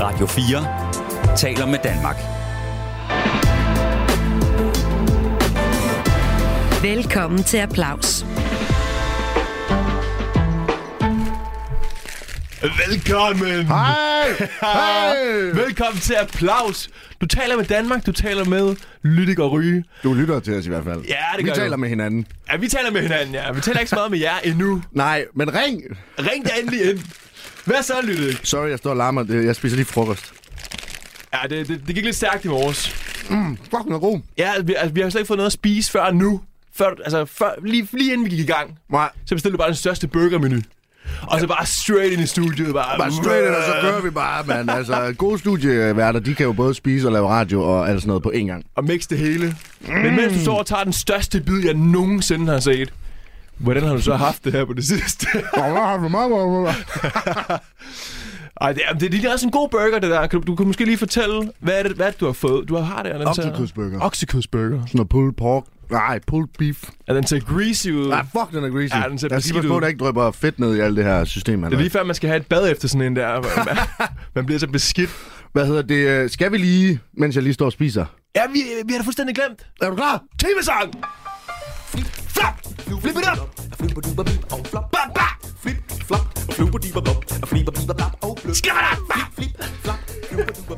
Radio 4 taler med Danmark. Velkommen til Applaus. Velkommen! Hej! Hej! Velkommen til Applaus. Du taler med Danmark, du taler med Lydik og Ryge. Du lytter til os i hvert fald. Ja, det Vi gør taler du. med hinanden. Ja, vi taler med hinanden, ja. Vi taler ikke så meget med jer endnu. Nej, men ring! Ring da endelig ind. Hvad så, Lydik? Sorry, jeg står og larmer. Det- Jeg spiser lige frokost. Ja, det, det, det gik lidt stærkt i morges. Fucking er god. Ja, vi, altså, vi har slet ikke fået noget at spise før nu. Før, altså, før, lige, lige inden vi gik i gang, Nej, så bestilte du bare den største burgermenu. Og så bare straight ind i studiet. Bare, bare straight ind, og så kører vi bare, mand. Altså, gode studieværter, de kan jo både spise og lave radio og alt sådan noget på én gang. og mix det hele. Mm. Men mens du står og tager den største bid, jeg nogensinde har set, hvordan har du så haft det her på det sidste? Ej, det, er, det, det er også en god burger, det der. Kan Du, du kan måske lige fortælle, hvad er det, hvad er det, du har fået? Du har det, er den til- Oksekødsburger. Oksekødsburger. Sådan noget pulled pork. Nej, pulled beef. Er den ser greasy ud? Nej, fuck, den er greasy. Ja, den ser jeg beskidt skal lige på, ud. at der ikke drøber fedt ned i alt det her system, man Det er lige før, man skal have et bad efter sådan en der. hvor Man, man bliver så beskidt. Hvad hedder det? øh, Skal vi lige, mens jeg lige står og spiser? Ja, vi, vi har det fuldstændig glemt. Er du klar? Timesang! Flap! Flip it up! Bam, bam!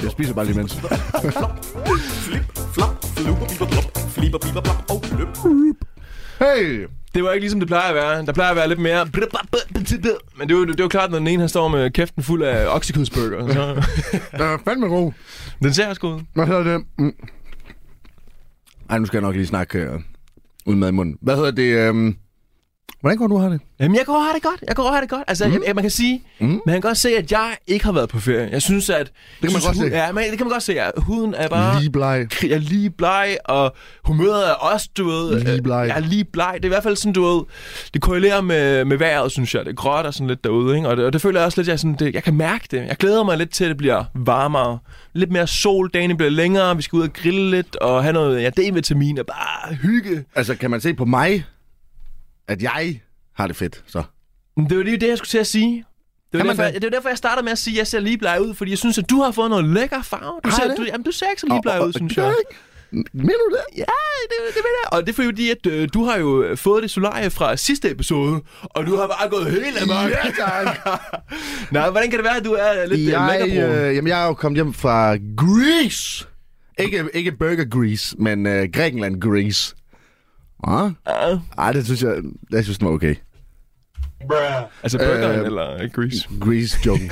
Jeg spiser bare lige mens. Hey! Det var ikke ligesom det plejer at være. Der plejer at være lidt mere... Men det var, det var klart, når den ene han står med kæften fuld af oksekødsburger. Så... Den er fandme god. den ser også god. ud. Hvad hedder det? Mm. Ej, nu skal jeg nok lige snakke øh, uden mad i munden. Hvad hedder det? Øh, hvordan går du har det? Jamen, jeg går har det godt. Jeg går har det godt. Altså, mm. jeg, jeg, man kan sige, mm. man kan godt se, at jeg ikke har været på ferie. Jeg synes, at... Det man godt se. Ja, man, det kan man godt se. Ja. Huden er bare... Lige bleg. Jeg er lige bleg, og humøret er også, du ved... Lige øh, bleg. Jeg er lige bleg. Det er i hvert fald sådan, du ved... Det korrelerer med, med vejret, synes jeg. Det er gråt og sådan lidt derude, ikke? Og det, og det føler jeg også lidt, jeg, sådan, det, jeg kan mærke det. Jeg glæder mig lidt til, at det bliver varmere. Lidt mere sol, dagene bliver længere, vi skal ud og grille lidt, og have noget ja, D-vitamin og bare hygge. Altså, kan man se på mig, at jeg har det fedt, så? Men Det var lige det, jeg skulle til at sige. Det var, Jamen derfor, da. jeg, det var derfor, jeg startede med at sige, at jeg ser lige bleg ud, fordi jeg synes, at du har fået noget lækker farve. Du Har ser, det? du, jamen, du ser ikke så lige bleg Og- ud, og- synes gør jeg. ikke? Mener du det? Ja, det, det mener jeg. Og det er fordi, at øh, du har jo øh, fået det solarie fra sidste episode, og du har bare gået helt amok. Ja, tak. Nej, hvordan kan det være, at du er lidt øh, jeg, jeg, lækkerbrun? øh, jamen, jeg er jo kommet hjem fra Greece. Ikke, ikke Burger Greece, men øh, Grækenland Greece. Ah, Øh, ej, det synes jeg, jeg synes, den var okay. altså burgeren øh, øh, eller øh, grease? Grease joke.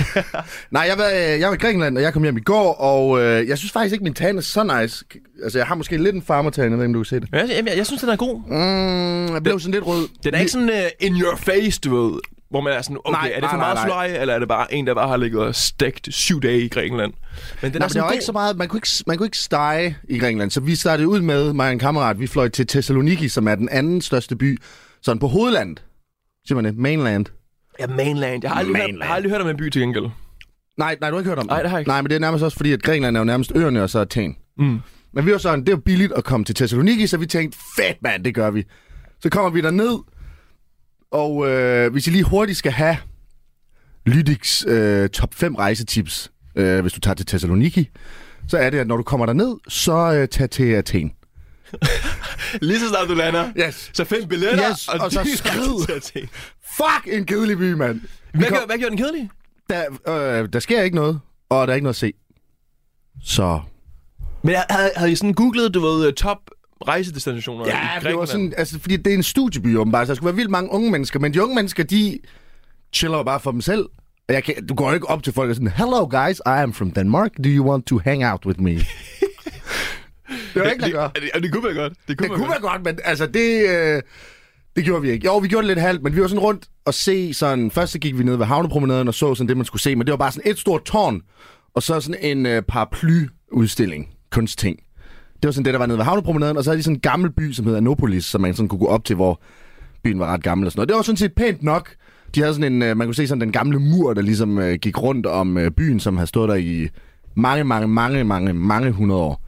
Nej, jeg var, øh, jeg var i Grækenland, og jeg kom hjem i går, og øh, jeg synes faktisk ikke, min tan er så nice. Altså, jeg har måske lidt en farmertan, jeg ved ikke, om du kan se det. Ja, jeg, jeg, jeg synes, den er god. Mm, jeg blev sådan lidt rød. Den er ikke sådan øh, in your face, du ved. Hvor man er sådan, okay, Nej, er det nej, for nej, meget nej. solarie, eller er det bare en, der bare har ligget og stegt syv dage i Grækenland? Men den Nej, er men der sådan var god. ikke så meget, man kunne ikke, man kunne ikke stege i Grækenland, så vi startede ud med, mig og en kammerat, vi fløj til Thessaloniki, som er den anden største by, sådan på hovedlandet. Siger man det? Mainland. Ja, mainland. Jeg har aldrig, hørt, Mainland. jeg har aldrig hørt om en by til gengæld. Nej, nej, du har ikke hørt om det. Nej, det har jeg ikke. Nej, men det er nærmest også fordi, at Grækenland er jo nærmest øerne, og så er Athen. Mm. Men vi var sådan, det var billigt at komme til Thessaloniki, så vi tænkte, fedt mand, det gør vi. Så kommer vi derned, og øh, hvis I lige hurtigt skal have Lydiks øh, top 5 rejsetips, øh, hvis du tager til Thessaloniki, så er det, at når du kommer derned, så øh, tag til Athen. Lige så snart du lander, Yes. så find billetter, Yes, og så direkte skrid. til Athen. Fuck, en kedelig by, mand. Vi Hvad, kom- gør, hvad gjorde den kedelige? der, øh, der sker ikke noget, og der er ikke noget at se. Så Men jeg- havde, havde I sådan googlet, du ved, øh, top rejsedestinationer i Ja, Grækenland? det var sådan, altså, fordi det er en studieby åbenbart, så der skulle være vildt mange unge mennesker, men de unge mennesker, de chiller jo bare for dem selv. Og Jeg kan, du går jo ikke op til folk og sådan, Hello guys, I am from Denmark, do you want to hang out with me? det var ikke, der gør. det, det, det, kunne være godt. Det kunne, Det kunne være godt, men altså det, øh, det gjorde vi ikke. Jo, vi gjorde det lidt halvt, men vi var sådan rundt og se sådan... Først så gik vi ned ved havnepromenaden og så sådan det, man skulle se, men det var bare sådan et stort tårn, og så sådan en øh, paraply-udstilling, kunstting. Det var sådan det, der var nede ved havnepromenaden, og så havde de sådan en gammel by, som hedder Anopolis, som man sådan kunne gå op til, hvor byen var ret gammel og sådan noget. Det var sådan set pænt nok. De havde sådan en, øh, man kunne se sådan den gamle mur, der ligesom øh, gik rundt om øh, byen, som havde stået der i mange, mange, mange, mange, mange hundrede år.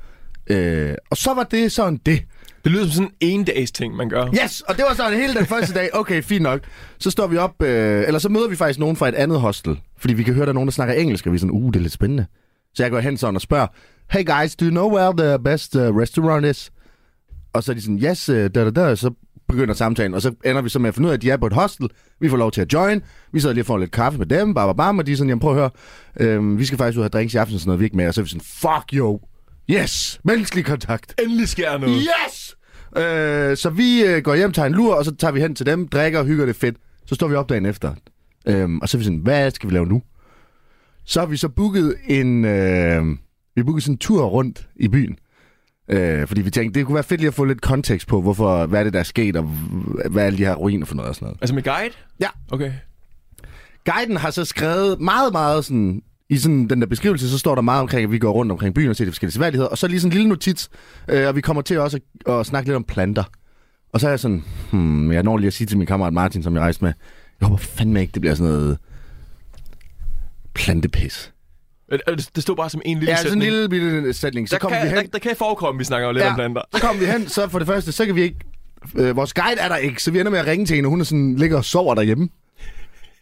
Øh, og så var det sådan det. Det lyder som sådan en dags ting, man gør. Yes, og det var sådan hele den første dag. Okay, fint nok. Så står vi op, øh, eller så møder vi faktisk nogen fra et andet hostel. Fordi vi kan høre, der er nogen, der snakker engelsk, og vi er sådan, uh, det er lidt spændende. Så jeg går hen sådan og spørger, hey guys, do you know where the best uh, restaurant is? Og så er de sådan, yes, uh, da, da, da, så begynder samtalen, og så ender vi så med at finde ud af, at de er på et hostel, vi får lov til at join, vi sidder lige og får lidt kaffe med dem, bare, bare, og de er sådan, jamen prøv at høre, øhm, vi skal faktisk ud og have drinks i aften, og sådan noget, vi er ikke med, og så er vi sådan, fuck yo, yes, menneskelig kontakt. Endelig sker noget. Yes! Øh, så vi øh, går hjem, tager en lur, og så tager vi hen til dem, drikker og hygger det fedt. Så står vi op dagen efter. Øhm, og så er vi sådan, hvad skal vi lave nu? Så har vi så booket en, øh, vi har booket sådan en tur rundt i byen. Øh, fordi vi tænkte, det kunne være fedt lige at få lidt kontekst på, hvorfor, hvad er det, der er sket, og h- hvad er alle de her ruiner for noget og sådan noget. Altså med guide? Ja. Okay. Guiden har så skrevet meget, meget sådan... I sådan den der beskrivelse, så står der meget omkring, at vi går rundt omkring byen og ser de forskellige seværdigheder. Og så lige sådan en lille notits, øh, og vi kommer til også at, at snakke lidt om planter. Og så er jeg sådan, hmm, jeg når lige at sige til min kammerat Martin, som jeg rejste med, jeg håber fandme ikke, det bliver sådan noget plantepis. Øh, øh, Det, det stod bare som en lille Ja, sådan en sætning. lille bitte sætning. Så der, kom kan, vi hen. der, der kan forekomme, vi snakker jo lidt om planter. Så kom vi hen, så for det første, så kan vi ikke... Øh, vores guide er der ikke, så vi ender med at ringe til hende, og hun er sådan, ligger og sover derhjemme.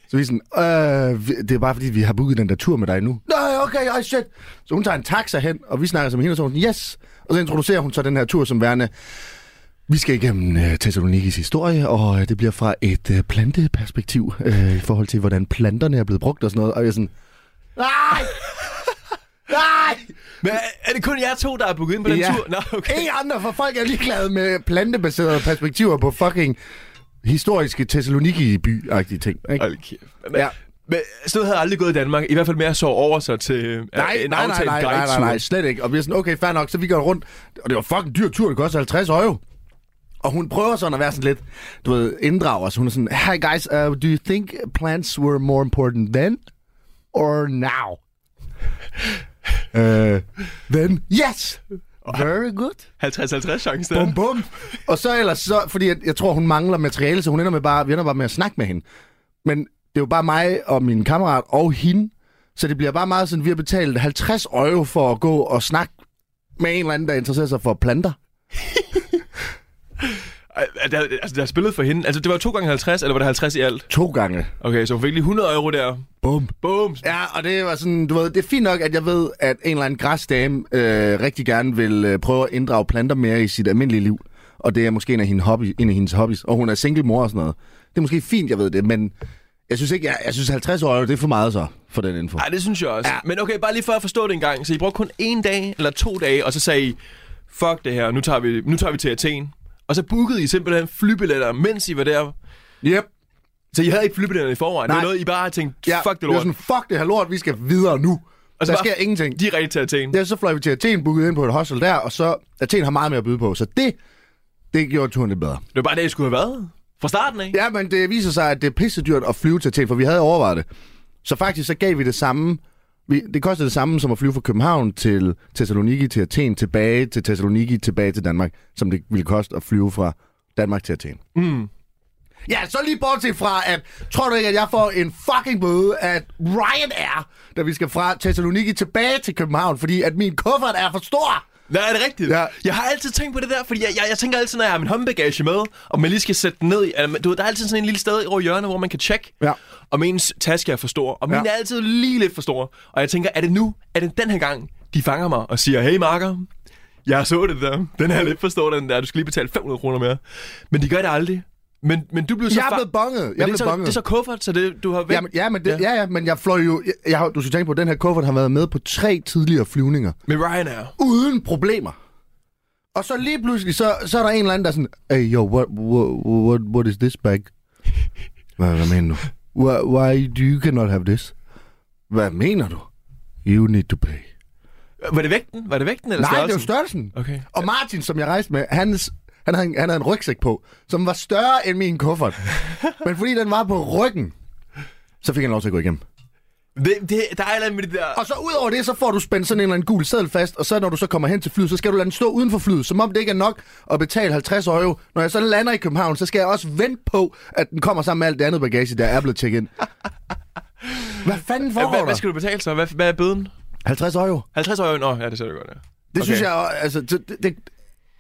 Så vi er sådan, øh, vi- det er bare fordi, vi har booket den der tur med dig nu. Nej, okay, oh shit. Så hun tager en taxa hen, og vi snakker som hende, og så er hun sådan, yes. Og så introducerer hun så den her tur som værende, vi skal igennem øh, Thessalonikis historie, og øh, det bliver fra et øh, planteperspektiv, øh, i forhold til, hvordan planterne er blevet brugt og sådan noget. Og jeg er sådan, nej! nej! Men er- er det kun jer to, der er booket ind på den Ja. tur? Nå, okay. Ingen andre, for folk er ligeglade med plantebaserede perspektiver på fucking historiske Thessaloniki-by-agtige ting. Ikke? Hold kæft. Men, ja. Ja. men sådan noget havde aldrig gået i Danmark. I hvert fald med at sove over sig til øh, Nej, en nej, nej, aftalt nej, nej, nej, guidetur. nej, slet ikke. Og vi er sådan, okay, fair nok, så vi går rundt. Og det var fucking dyr tur, det koster 50 euro. Og hun prøver sådan at være sådan lidt, du ved, inddrager os. Hun er sådan, hey guys, uh, do you think plants were more important then or now? uh, then? Yes! Very good. 50-50 chance der. Bum, bum. Og så ellers så, fordi jeg, jeg tror, hun mangler materiale, så hun ender med bare, vi ender bare med at snakke med hende. Men det er jo bare mig og min kammerat og hende, så det bliver bare meget sådan, vi har betalt 50 euro for at gå og snakke med en eller anden, der interesserer sig for planter. Ej, er Der, altså, der er spillet for hende. Altså, det var to gange 50, eller var det 50 i alt? To gange. Okay, så hun fik lige 100 euro der. Bum. Bum. Ja, og det var sådan, du ved, det er fint nok, at jeg ved, at en eller anden græsdame øh, rigtig gerne vil øh, prøve at inddrage planter mere i sit almindelige liv. Og det er måske en af, hendes hobby, en af hendes hobbies, og hun er single mor og sådan noget. Det er måske fint, jeg ved det, men jeg synes ikke, jeg, jeg synes 50 år, det er for meget så, for den info. Nej, det synes jeg også. Ja. Men okay, bare lige for at forstå det en gang. Så I brugte kun en dag eller to dage, og så sagde I, fuck det her, nu tager vi, nu tager vi til Athen. Og så bookede I simpelthen flybilletter, mens I var der. Yep. Så I havde ikke flybilletter i forvejen. Nej. Det Nej. var noget, I bare havde tænkt, Ja, fuck det lort. Altså, Det er sådan, fuck det her lort, vi skal videre nu. Og Og så så der bare- sker ingenting. Direkte til Athen. Ja, så fløj vi til Athen, bookede ind på et hostel der, og så Athen har meget mere at byde på, så det, det gjorde turen lidt bedre. Det var bare det, I skulle have været. Fra starten af. Ja, men det viser sig, at det er pissedyrt at flyve til Athen, for vi havde overvejet det. Så faktisk så gav vi det samme. Vi, det kostede det samme som at flyve fra København til Thessaloniki til Athen, tilbage til Thessaloniki, tilbage til Danmark, som det ville koste at flyve fra Danmark til Athen. Mm. Ja, så lige bortset fra, at tror du ikke, at jeg får en fucking bøde af Ryan Air, da vi skal fra Thessaloniki tilbage til København, fordi at min kuffert er for stor. Nej, er det rigtigt? Ja. Jeg har altid tænkt på det der, fordi jeg, jeg, jeg tænker altid, når jeg har min håndbagage med, og man lige skal sætte den ned i... Eller, man- du ved, der er altid sådan en lille sted over hjørnet, hvor man kan tjekke, Ja. om ens taske er for stor. Og min Ja. er altid lige lidt for stor. Og jeg tænker, er det nu? Er det den her gang, de fanger mig og siger, hey marker, jeg så det der. Den er lidt for stor, den der. Du skal lige betale 500 kroner mere. Men de gør det aldrig. Men, men du blev så... Jeg er fa- blevet bonget. Men Jeg det, blev er så, bonget. det er så kuffert, så det, du har vendt. Jamen, ja, men det, ja. ja, men jeg fløj jo... Jeg, jeg, har- du skal tænke på, at den her kuffert har været med på tre tidligere flyvninger. Med Ryanair. Uden problemer. Og så lige pludselig, så, så er der en eller anden, der er sådan... Hey, yo, what, what, what, what is this bag? Hvad, hvad mener du? Why, why do you cannot have this? Hvad mener du? You need to pay. Var det vægten? Var det vægten eller Nej, det er jo størrelsen? størrelsen. Okay. Og Martin, som jeg rejste med, hans, han, havde, en- han havde en rygsæk på, som var større end min kuffert. Men fordi den var på ryggen, så fik han lov til at gå igennem. Det, det, der er et eller andet med det der... Og så ud over det, så får du spændt sådan en eller anden gul seddel fast, og så når du så kommer hen til flyet, så skal du lade den stå uden for flyet, som om det ikke er nok at betale 50 euro. Når jeg så lander i København, så skal jeg også vente på, at den kommer sammen med alt det andet bagage, der er blevet tjekket ind. Hvad fanden foregår Hvad, der? hvad skal du betale så? Hvad, hvad er bøden? 50 euro. 50 euro? Nå, ja, det ser du godt, ja. Det okay. synes jeg, jo- altså, det, det, det,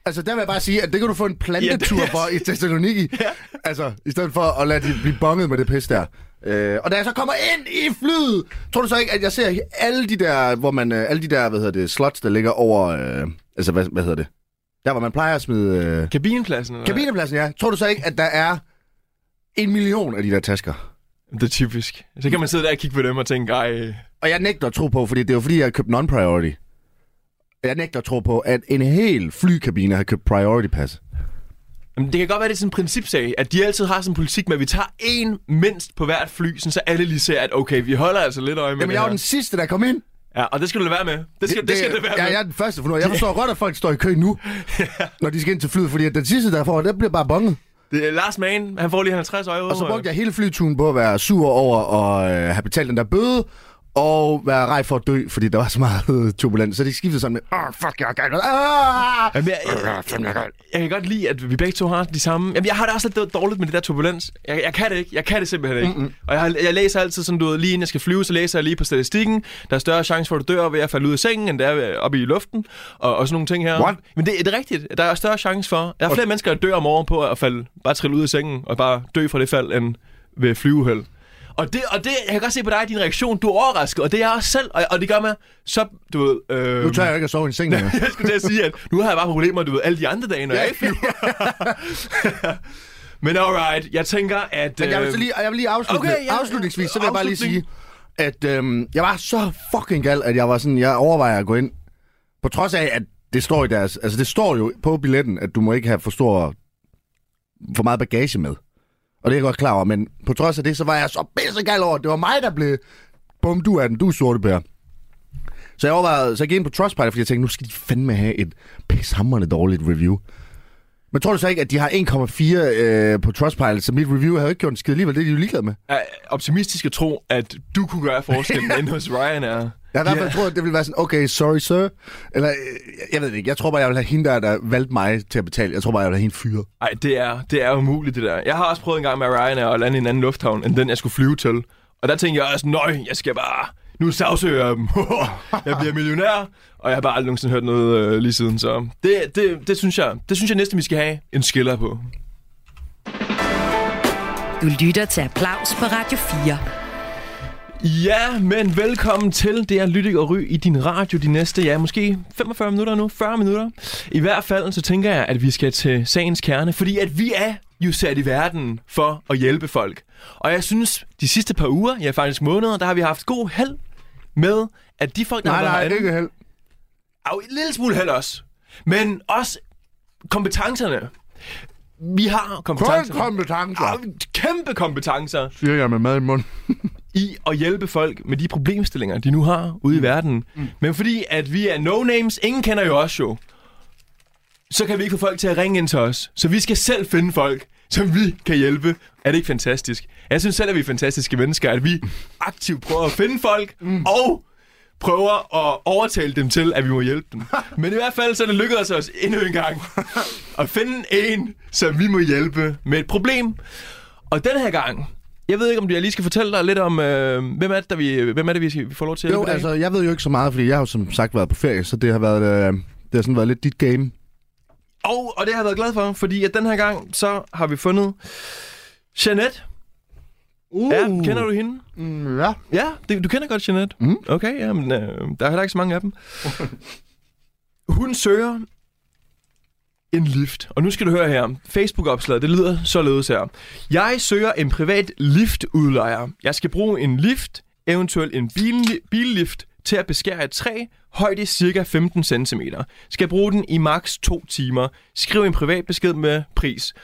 altså der vil jeg bare sige, at det kan du få en plantetur Ja, ja, det- for i Thessaloniki. ja. Altså, i stedet for at lade det blive bonget med det pis der. Øh, og da jeg så kommer ind i flyet, tror du så ikke, at jeg ser alle de der, hvor man, øh, alle de der, hvad hedder det, slots, der ligger over, øh, altså, hvad, hvad hedder det? Der, hvor man plejer at smide... Øh, Kabinepladsen? Eller? hvad? kabinepladsen, ja. Tror du så ikke, at der er en million af de der tasker? Det er typisk. Så kan man sidde der og kigge på dem og tænke, ej... Og jeg nægter at tro på, fordi det er jo fordi, jeg har købt non-priority. Jeg nægter at tro på, at en hel flykabine har købt priority pass. Jamen, det kan godt være, det er sådan en principsag, at de altid har sådan en politik med, at vi tager en mindst på hvert fly, sådan så alle lige ser, at okay, vi holder altså lidt øje med Jamen, det jeg var her. den sidste, der kom ind. Ja, og det skal du lade være med. Det skal det, det, skal det være ja, med. jeg er den første for nu. Jeg forstår godt, at folk står i kø nu, når de skal ind til flyet, fordi at den sidste, der får, der bliver bare bonget. Det er Lars Mann, han får lige 50 øje Og så brugte jeg hele flyturen på at være sur over at øh, have betalt den der bøde, og være rej for at dø, fordi der var så meget turbulens. Så de skiftede sådan med, åh, oh, fuck, jeg har galt noget. Ah! Jamen, jeg, jeg, jeg, jeg kan godt lide, at vi begge to har de samme... Jamen, jeg har det også lidt dårligt med det der turbulens. Jeg, jeg kan det ikke. Jeg kan det simpelthen ikke. Mm-mm. Og jeg, har- jeg læser altid sådan, du ved, lige inden jeg skal flyve, så læser jeg lige på statistikken. Der er større chance for, at du dør ved at falde ud af sengen, end der er ved- oppe i luften. Og, og sådan nogle ting her. What? Men det, det er rigtigt. Der er større chance for... Der er flere mennesker, der dør om året på at falde, bare trille ud af sengen og bare dø fra det fald, end ved flyveheld. Og det, og det, jeg kan godt se på dig, din reaktion, du er overrasket, og det er jeg også selv, og, og det gør mig så, du ved... Øh, Nu tør jeg jo ikke at sove i en seng længere. jeg skulle til at sige, at nu har jeg bare problemer, du ved, alle de andre dage, når jeg ikke flyver. Men alright, jeg tænker, at... Men jeg vil, øh, så lige, og jeg vil lige afslutte, Okay, okay, ja, ja, afslutningsvis, så vil jeg bare lige sige, afslutning. at øhm, jeg var så fucking gal, at jeg var sådan, jeg overvejer at gå ind, på trods af, at det står i deres, altså det står jo på billetten, at du må ikke have for stor, for meget bagage med. Og det er jeg godt klar over, men på trods af det, så var jeg så pissegal over, at det var mig, der blev, bum, du er den, du er sortebær. Så jeg overvejede, så jeg gik ind på Trustpilot, fordi jeg tænkte, nu skal de fandme have et pishammerende dårligt review. Men tror du så ikke, at de har 1,4 øh, på Trustpilot, så mit review havde jo ikke gjort en skid alligevel, det er de jo ligeglade med. er optimistisk at tro, at du kunne gøre forskellen end hos Ryan er. Jeg har i hvert fald troet, at det ville være sådan, okay, sorry sir. Eller, øh, jeg ved det ikke, jeg tror bare, jeg ville have hende der, der valgte mig til at betale. Jeg tror bare, jeg ville have hende fyret. Ej, det er, det er umuligt, det der. Jeg har også prøvet en gang med Ryan at lande i en anden lufthavn, end den, jeg skulle flyve til. Og der tænkte jeg også, nøj, jeg skal bare... Nu sagsøger jeg dem. jeg bliver millionær, og jeg har bare aldrig nogensinde hørt noget øh, lige siden. Så det, det, det, synes jeg, det synes jeg næsten, vi skal have en skiller på. Du lytter til Applaus på Radio 4. Ja, men velkommen til. Det er Lytik og Ry i din radio de næste, ja, måske 45 minutter nu, 40 minutter. I hvert fald, så tænker jeg, at vi skal til sagens kerne, fordi at vi er jo sat i verden for at hjælpe folk. Og jeg synes, de sidste par uger, ja faktisk måneder, der har vi haft god held med, at de folk, der har været herinde- held. og en lille smule held også. Men også kompetencerne. Vi har kompetencer. kompetencer, Kæmpe kompetencer siger jeg med mad i munden. i at hjælpe folk med de problemstillinger, de nu har ude i verden. Mm. Men fordi at vi er no-names, ingen kender jo os jo, så kan vi ikke få folk til at ringe ind til os. Så vi skal selv finde folk, som vi kan hjælpe. Er det ikke fantastisk? Jeg synes selv, at vi er fantastiske mennesker, at vi aktivt prøver at finde folk, mm. og prøver at overtale dem til, at vi må hjælpe dem. Men i hvert fald så er det lykkedes os endnu en gang at finde en, som vi må hjælpe med et problem. Og den her gang, jeg ved ikke, om jeg lige skal fortælle dig lidt om, øh, hvem, er det, der vi, hvem er det, vi, skal- vi får lov til at Jo, hjælpe i dag? altså, jeg ved jo ikke så meget, fordi jeg har jo som sagt været på ferie, så det har været, øh, det har sådan været lidt dit game. Og, og det har jeg været glad for, fordi at den her gang, så har vi fundet Jeanette. Uh. Ja, kender du hende? Mm, ja. Ja, det, du kender godt Jeanette. Mm. Okay, ja, men øh, der er heller ikke så mange af dem. Hun søger en lift. Og nu skal du høre her. Facebook-opslaget, det lyder således her. Jeg søger en privat liftudlejer. Jeg skal bruge en lift, eventuelt en bil- billift, til at beskære et træ, højde cirka 15 cm. Skal bruge den i maks 2 timer. Skriv en privat besked med pris.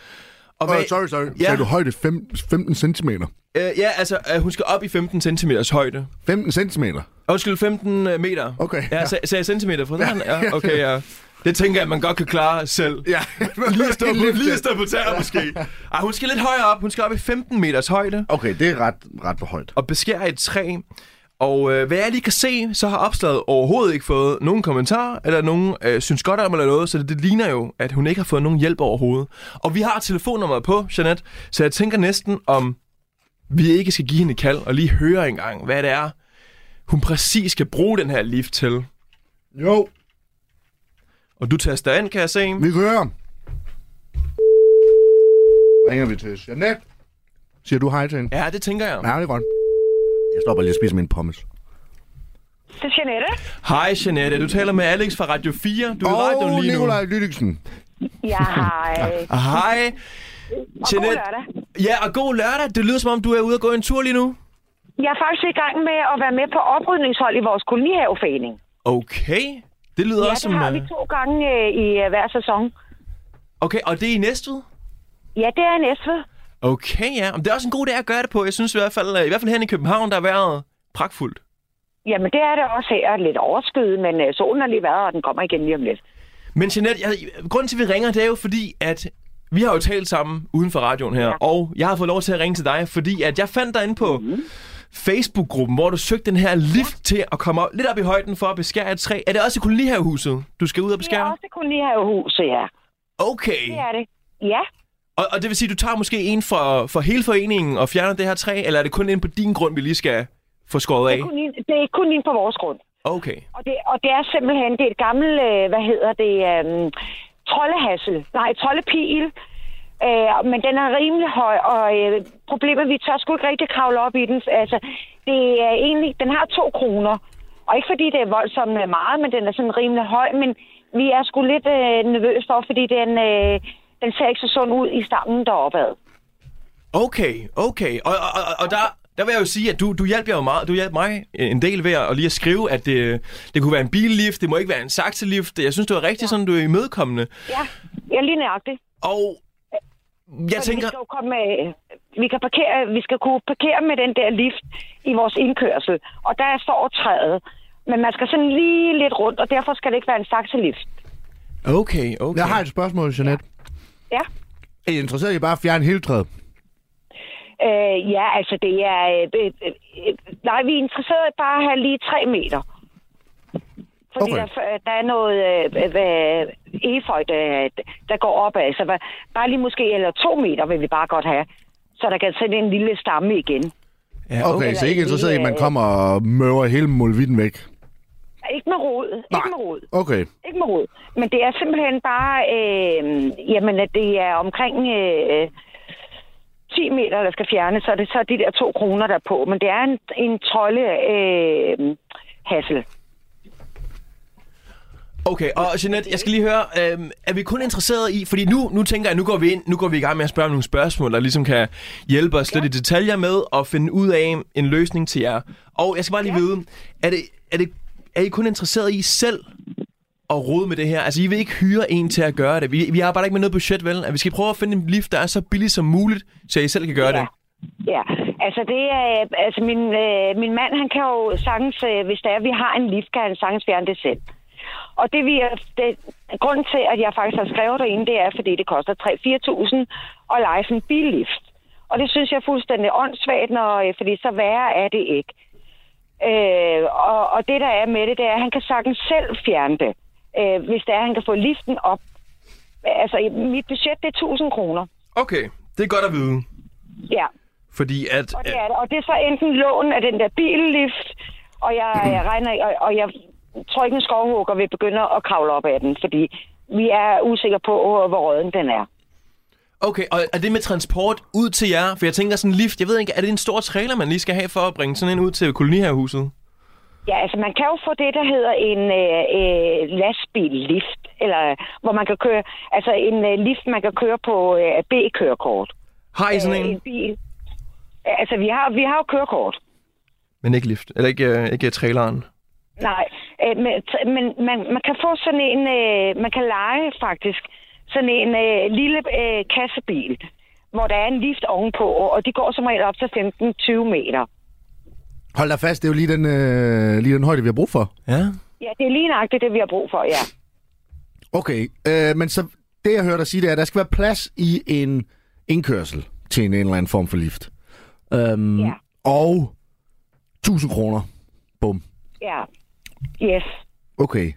Og Oh, sorry, sorry. Ja. Ja. Sagde du højde fem, 15 cm? øh, ja, altså, øh, hun skal op i 15 cm højde. 15 cm? Undskyld, 15 øh, meter. Okay. Ja, sag, sagde jeg centimeter fra den? Ja, okay, ja. Det tænker jeg, man godt kan klare selv. Ja. Lige at stå på, lige at stå på tæer, måske. Ej, hun skal lidt højere op. Hun skal op i 15 meters højde Okay, det er ret, ret for højt. og beskære et træ. Og øh, hvad jeg lige kan se, så har opslaget overhovedet ikke fået nogen kommentar, eller nogen øh, synes godt om eller noget, så det, det ligner jo, at hun ikke har fået nogen hjælp overhovedet. Og vi har telefonnummeret på, Jeanette, så jeg tænker næsten, om vi ikke skal give hende et kald og lige høre engang, hvad det er, hun præcis skal bruge den her lift til. Jo. Og du taster ind, kan jeg se. Vi kører. Ringer vi til Jeanette? Siger du hej til hende? Ja, det tænker jeg. Ja, det er godt. Jeg stopper lige og spiser min pommes. Det er Jeanette. Hej, Jeanette. Du taler med Alex fra Radio 4. Du er i radioen Og lige nu. Nikolaj Lydiksen. Ja, hej. Hej. Og øh, god Jeanette. lørdag. Ja, og god lørdag. Det lyder, som om du er ude og gå en tur lige nu. Jeg er faktisk i gang med at være med på oprydningshold i vores kolonihaveforening. Okay. Det lyder Ja, også som... det har vi øh, to gange øh, i øh, hver sæson. Okay, og det er i Næstved? Ja, det er næstved. Okay, ja. Men det er også en god dag at gøre det på. Jeg synes i hvert fald, øh, i hvert fald her i København, der er været pragtfuldt. Jamen, det er det også her. Lidt overskyet, men øh, solen har lige været, og den kommer igen lige om lidt. Men Jeanette, jeg, grunden til, at vi ringer, det er jo fordi, at vi har jo talt sammen uden for radioen her, ja. og jeg har fået lov til at ringe til dig, fordi at jeg fandt dig inde på Mhm. mm-hmm. Facebook-gruppen, hvor du søgte den her lift til at komme op, lidt op i højden for at beskære et træ. Er det også i kolonihavehuset, du skal ud og Det er beskære? også kolonihavehuset, ja. Okay. Det er det. Ja. Og, og det vil sige, at du tager måske en for, for hele foreningen og fjerner det her træ, eller er det kun ind på din grund, vi lige skal få skåret Det af? er kun, inde- det er kun inde på vores grund. Okay. Og det, og det er simpelthen, det er et gammelt, øh, hvad hedder det, øh, troldehassel. Nej, trollepil. Øh, men den er rimelig høj, og øh, problemet er, at vi tør sgu ikke rigtig kravle op i den. Altså, det er egentlig, den har to kroner. Og ikke fordi det er voldsomt øh, meget, men den er sådan rimelig høj. Men vi er sgu lidt øh, nervøse for, fordi den, øh, den ser ikke så sund ud i stammen deroppe ad. Okay, okay. Og, og, og, og der, der vil jeg jo sige, at du, du hjalp jer jo meget, du hjalp mig en del ved at, at lige at skrive, at det, det kunne være en billift, det må ikke være en sakselift. Jeg synes, det var rigtig ja. sådan, du er imødekommende. Ja, ja lige nøjagtigt. Og jeg Fordi tænker, Vi skal, jo komme, øh, vi, kan parkere, vi skal kunne parkere med den der lift i vores indkørsel, og der står træet. Men man skal sådan lige lidt rundt, og derfor skal det ikke være en sakselift. okay, okay. Jeg har et spørgsmål, Jeanette. Ja. Er I interesseret i bare at fjerne hele træet? Øh, ja, altså det er... Øh, øh, øh, nej, vi er interesserede i bare at have lige tre meter. Fordi Okay. okay. der, der er noget øh, hvad, efeu, der, der går op af. Så hvad- bare lige måske, eller to meter vil vi bare godt have. Så der kan sætte en lille stamme igen. Ja, Okay, okay. okay så ikke en interesseret i, at man lille- kommer og møver hele mulvitten væk? Ikke med rod. Ikke med rod. Okay. Ikke med rod. Men det er simpelthen bare, øh, jamen, at det er omkring øh, 10 meter, der skal fjernes, så er det så de der to kroner, der er på. Men det er en, en trolde øh, hassel. okay. Og Jeanette, jeg skal lige høre, øhm, er vi kun interesseret i, fordi nu, nu tænker jeg, nu går vi ind, nu går vi i gang med at spørge om nogle spørgsmål, der ligesom kan hjælpe os lidt i detaljer med at finde ud af en løsning til jer. Og jeg skal bare lige vide, er det, er det, er I kun interesseret i selv at rode med det her? Altså, I vil ikke hyre en til at gøre det. Vi, vi arbejder ikke med noget budget, vel? At vi skal prøve at finde en lift, der er så billig som muligt, så I selv kan gøre Ja. det. Ja, altså det er, altså min, øh, min mand, han kan jo sagtens, øh, hvis der er, vi har en lift, kan han sagtens fjerne det selv. Og det vi er, det, grunden til, at jeg faktisk har skrevet derinde, det er, fordi det koster 3-4.000 at lege sådan en billift. Og det synes jeg er fuldstændig åndssvagt, når, øh, fordi så værre er det ikke. Øh, og, og det, der er med det, det er, at han kan sagtens selv fjerne det, øh, hvis det er, at han kan få liften op. Altså, mit budget, det er 1.000 kroner. Okay, det er godt at vide. Ja. Fordi at... Og det er det. Og det er så enten lån af den der billift, og jeg, jeg regner, og, og jeg tror ikke, en skovhugger vil begynde at kravle op af den, fordi vi er usikre på, hvor røden den er. Okay, og er det med transport ud til jer? For jeg tænker sådan en lift, jeg ved ikke, er det en stor trailer, man lige skal have for at bringe sådan en ud til koloniherhuset? Ja, altså man kan jo få det, der hedder en øh, øh, lastbillift, eller hvor man kan køre, altså en øh, lift, man kan køre på øh, B-kørekort. Har I sådan Øh, en en? bil. Ja, Altså vi har, vi har jo kørekort. Men ikke lift, eller ikke, øh, ikke øh, traileren. Nej, øh, men, t- men man, man kan få sådan en, øh, man kan lege faktisk, sådan en øh, lille øh, kassebil, hvor der er en lift ovenpå, og de går som regel op til 15-20 meter. Hold da fast, det er jo lige den, øh, lige den højde, vi har brug for. Ja. Ja, det er lige nøjagtigt det, vi har brug for, ja. Okay, øh, men så det, jeg hørte dig sige, det er, at der skal være plads i en indkørsel til en, en eller anden form for lift. Øhm, Ja. Og 1000 kroner. Bum. ja. Yes. Okay.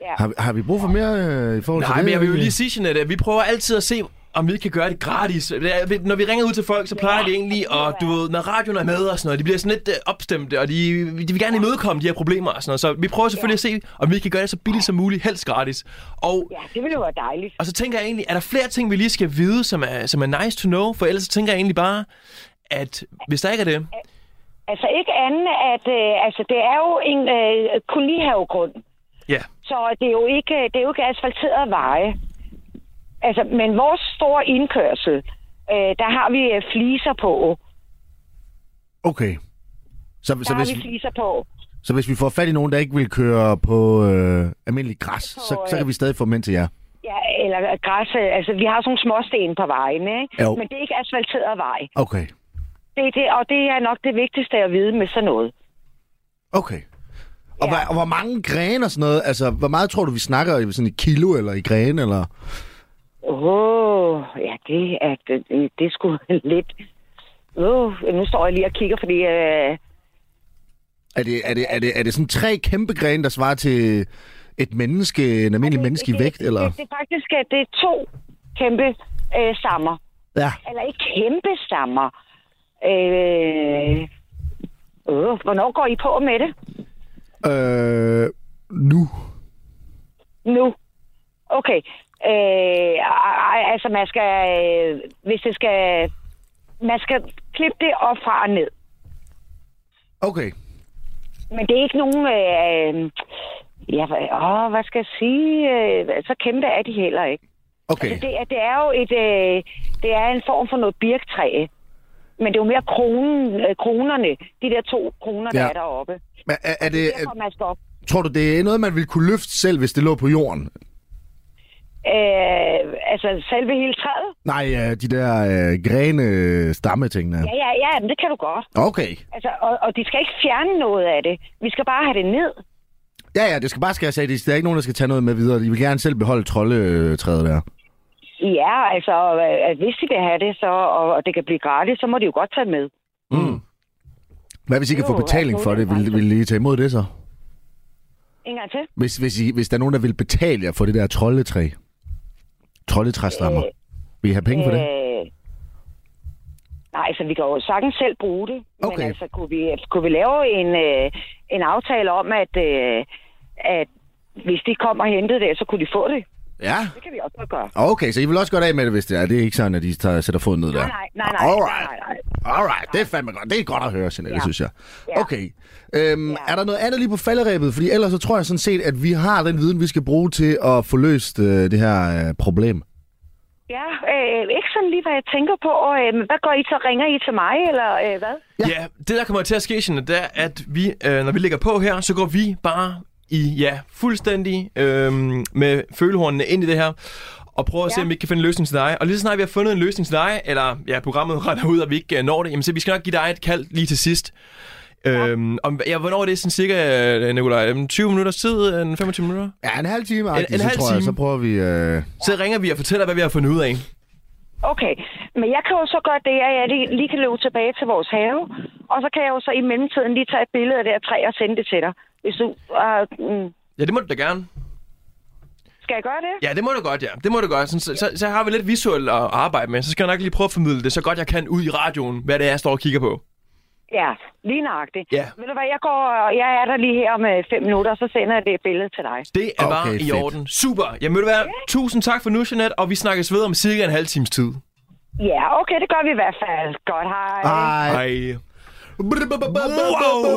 Ja. Har, vi- har vi brug for mere øh, i forhold til Nej, det? øh? men jeg vil jo egentlig? lige sige, Jeanette, at vi prøver altid at se, om vi kan gøre det gratis. Det er- Når vi ringer ud til folk, så plejer ja, Ja, det egentlig, og du ved, når radioen er med og sådan noget, de bliver sådan lidt øh, opstemte, og de, de vil gerne imødekomme de her problemer og sådan noget. Så vi prøver selvfølgelig ja. at se, om vi kan gøre det så billigt som muligt, helst gratis. Og Ja, det ville jo være dejligt. og så tænker jeg egentlig, er der flere ting, vi lige skal vide, som er, som er nice to know? For ellers så tænker jeg egentlig bare, at hvis der ikke er det... Altså ikke andet, at øh, altså, det er jo en øh, kolonihavegrund. Ja. Så det er jo ikke, det er jo ikke asfalteret veje. Altså, men vores store indkørsel, øh, der har vi øh, fliser på. Okay. Så, Der så, har hvis, vi fliser på. så hvis vi får fat i nogen, der ikke vil køre på øh, almindelig græs, så, øh, så kan vi stadig få mænd til jer. Ja, eller græs. øh, Altså, vi har sådan nogle småsten på vejen, ikke? Jo. Men det er ikke asfalteret vej. Okay. Det, er det, og det er nok det vigtigste at vide med sådan noget. Okay. Og, Ja. ja. og hvor mange grene og sådan noget? Altså, hvor meget tror du, vi snakker i sådan i kilo eller i grene? Eller? Åh, oh, ja, det er, det, det er sgu lidt... Uh, nu står jeg lige og kigger, fordi... Øh, Er det, er, det, er, det, er det sådan tre kæmpe grene, der svarer til et menneske, en almindelig menneske i det- vægt? det, Eller? Det, det, er faktisk øh, det er to kæmpe øh, stammer. Ja. Eller ikke kæmpe stammer. Øh, øh, hvornår går I på med det Øh, nu. nu? Okay. Øh, ej, ej, altså, man skal... Øh, hvis det skal... Man skal klippe det op fra og ned. Okay. Men det er ikke nogen... Øh, ja, hvad- åh, hvad skal jeg sige? Øh, så kæmpe er de heller ikke. Okay. Altså, det, er, det er jo et, øh, det er en form for noget birktræ. Men det er jo mere kronen, øh, kronerne, de der to kroner, ja. der Ja. Øh, er deroppe. Men er, er det, Derfor er, man skal op. tror du, det er noget, man ville kunne løfte selv, hvis det lå på jorden? Øh, altså selve hele træet? Nej, øh, de der øh, grene stammetingene. Ja, ja, ja, men det kan du godt. Okay. Altså, og, og de skal ikke fjerne noget af det. Vi skal bare have det ned. Ja, ja, det skal bare skæres af. Det- Der er ikke nogen, der skal tage noget med videre. De vil gerne selv beholde troldetræet der. Ja, altså, øh, at hvis de vil have det, så, og, og det kan blive gratis, så må de jo godt tage det med. Hvad hvis I kan Jo, få betaling for det? Vil, vil I tage imod det så? En gang til. Hvis, hvis, I, hvis der er nogen, der vil betale jer for det der troldetræ, troldetræstammer, Øh, vil I have penge for det? Øh, nej, altså, vi kan jo sagtens selv bruge det. Okay. Men altså, kunne vi, kunne vi lave en, øh, en aftale om, at, øh, at hvis de kommer og hentede det, så kunne de få det. Ja. Det kan vi også godt gøre. Okay, så I vil også godt af med det, hvis det er. Det er ikke sådan, at I tager, sætter foden ned der. Nej, nej, nej, nej, Alright. nej, nej. Alright, det er fandme godt. Det er godt at høre, Jeanette, ja. Ja. synes jeg. Ja. Okay, øhm, Ja. er der noget andet lige på falderæbet? Fordi ellers så tror jeg sådan set, at vi har den viden, vi skal bruge til at få løst øh, det her øh, problem. Ja, øh, ikke sådan lige, hvad jeg tænker på. Og, øh, men hvad går I så? Ringer I til mig, eller øh, hvad? Ja. ja, det der kommer til at ske, Jeanette, det er, at vi, øh, når vi ligger på her, så går vi bare i, ja, fuldstændig øh, med følehornene ind i det her, og prøver at ja. se, Ja. om vi ikke kan finde en løsning til dig. Og lige så snart vi har fundet en løsning til dig, eller ja, programmet retter ud, og vi ikke øh, når det, jamen så vi skal nok give dig et kald lige til sidst. Ja. Øhm, om, ja, hvornår er det sådan cirka, øh, Nicolaj? Øhm, 20 minutters tid? øh, 25 minutter? Ja, en halv time, en, en en så halv tror time. jeg, så prøver vi... Øh... Så ringer vi og fortæller, hvad vi har fundet ud af. Okay, men jeg kan jo så gøre det, at jeg lige, lige kan løbe tilbage til vores have, og så kan jeg jo så i mellemtiden lige tage et billede af det her træ og sende det til dig. Hvis du, øh, mm, Ja, det må du da gerne. skal jeg gøre det? Ja, det må du godt, ja. Det må du godt. Sådan, så, så, så har vi lidt visuelt at arbejde med. Så skal jeg nok lige prøve at formidle det så godt jeg kan ud i radioen, hvad det er, jeg står og kigger på. Ja, lige nøjagtigt. Ja. Ved du hvad, jeg, går, jeg er der lige her om øh, fem minutter, og så sender jeg det billede til dig. Det er Okay, bare i fedt. orden. Super. Jamen, vil du være, tusind tak for nu, Jeanette, og vi snakkes ved om cirka en halv times tid. Ja, okay, det gør vi i hvert fald. Godt, hej. Ah. Ej. Hej. Wow.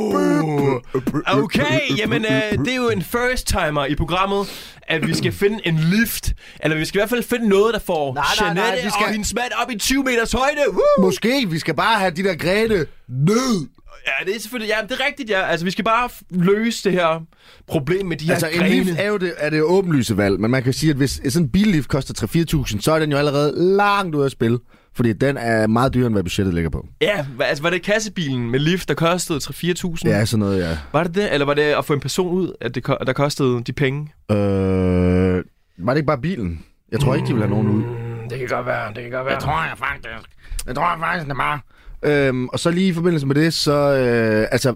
Okay, jamen øh, det er jo en first timer i programmet, at vi skal finde en lift. Eller vi skal i hvert fald finde noget, der får nej, nej, nej, Jeanette vi og skal- hendes mand op i 20 meters højde. Woo! Måske vi skal bare have de der grene ned. Ja, det er selvfølgelig... Ja, det er rigtigt, ja. Altså, vi skal bare f- løse det her problem med de her Altså, en grene. lift er jo det, er det åbenlyse valg, men man kan sige, at hvis sådan en billift koster 3-4.000, så er den jo allerede langt ude at spille, fordi den er meget dyrere, end hvad budgettet ligger på. Ja, hva- altså var det kassebilen med lift, der kostede 3-4.000? Ja, sådan noget, ja. Var det det? Eller var det at få en person ud, at det, ko- der kostede de penge? Øh, var det ikke bare bilen? Jeg tror ikke, de vil have nogen ud. Det kan godt være, det kan godt være. tror jeg faktisk. Det tror jeg faktisk, det var. Øhm, og så lige i forbindelse med det, så... Øh, altså,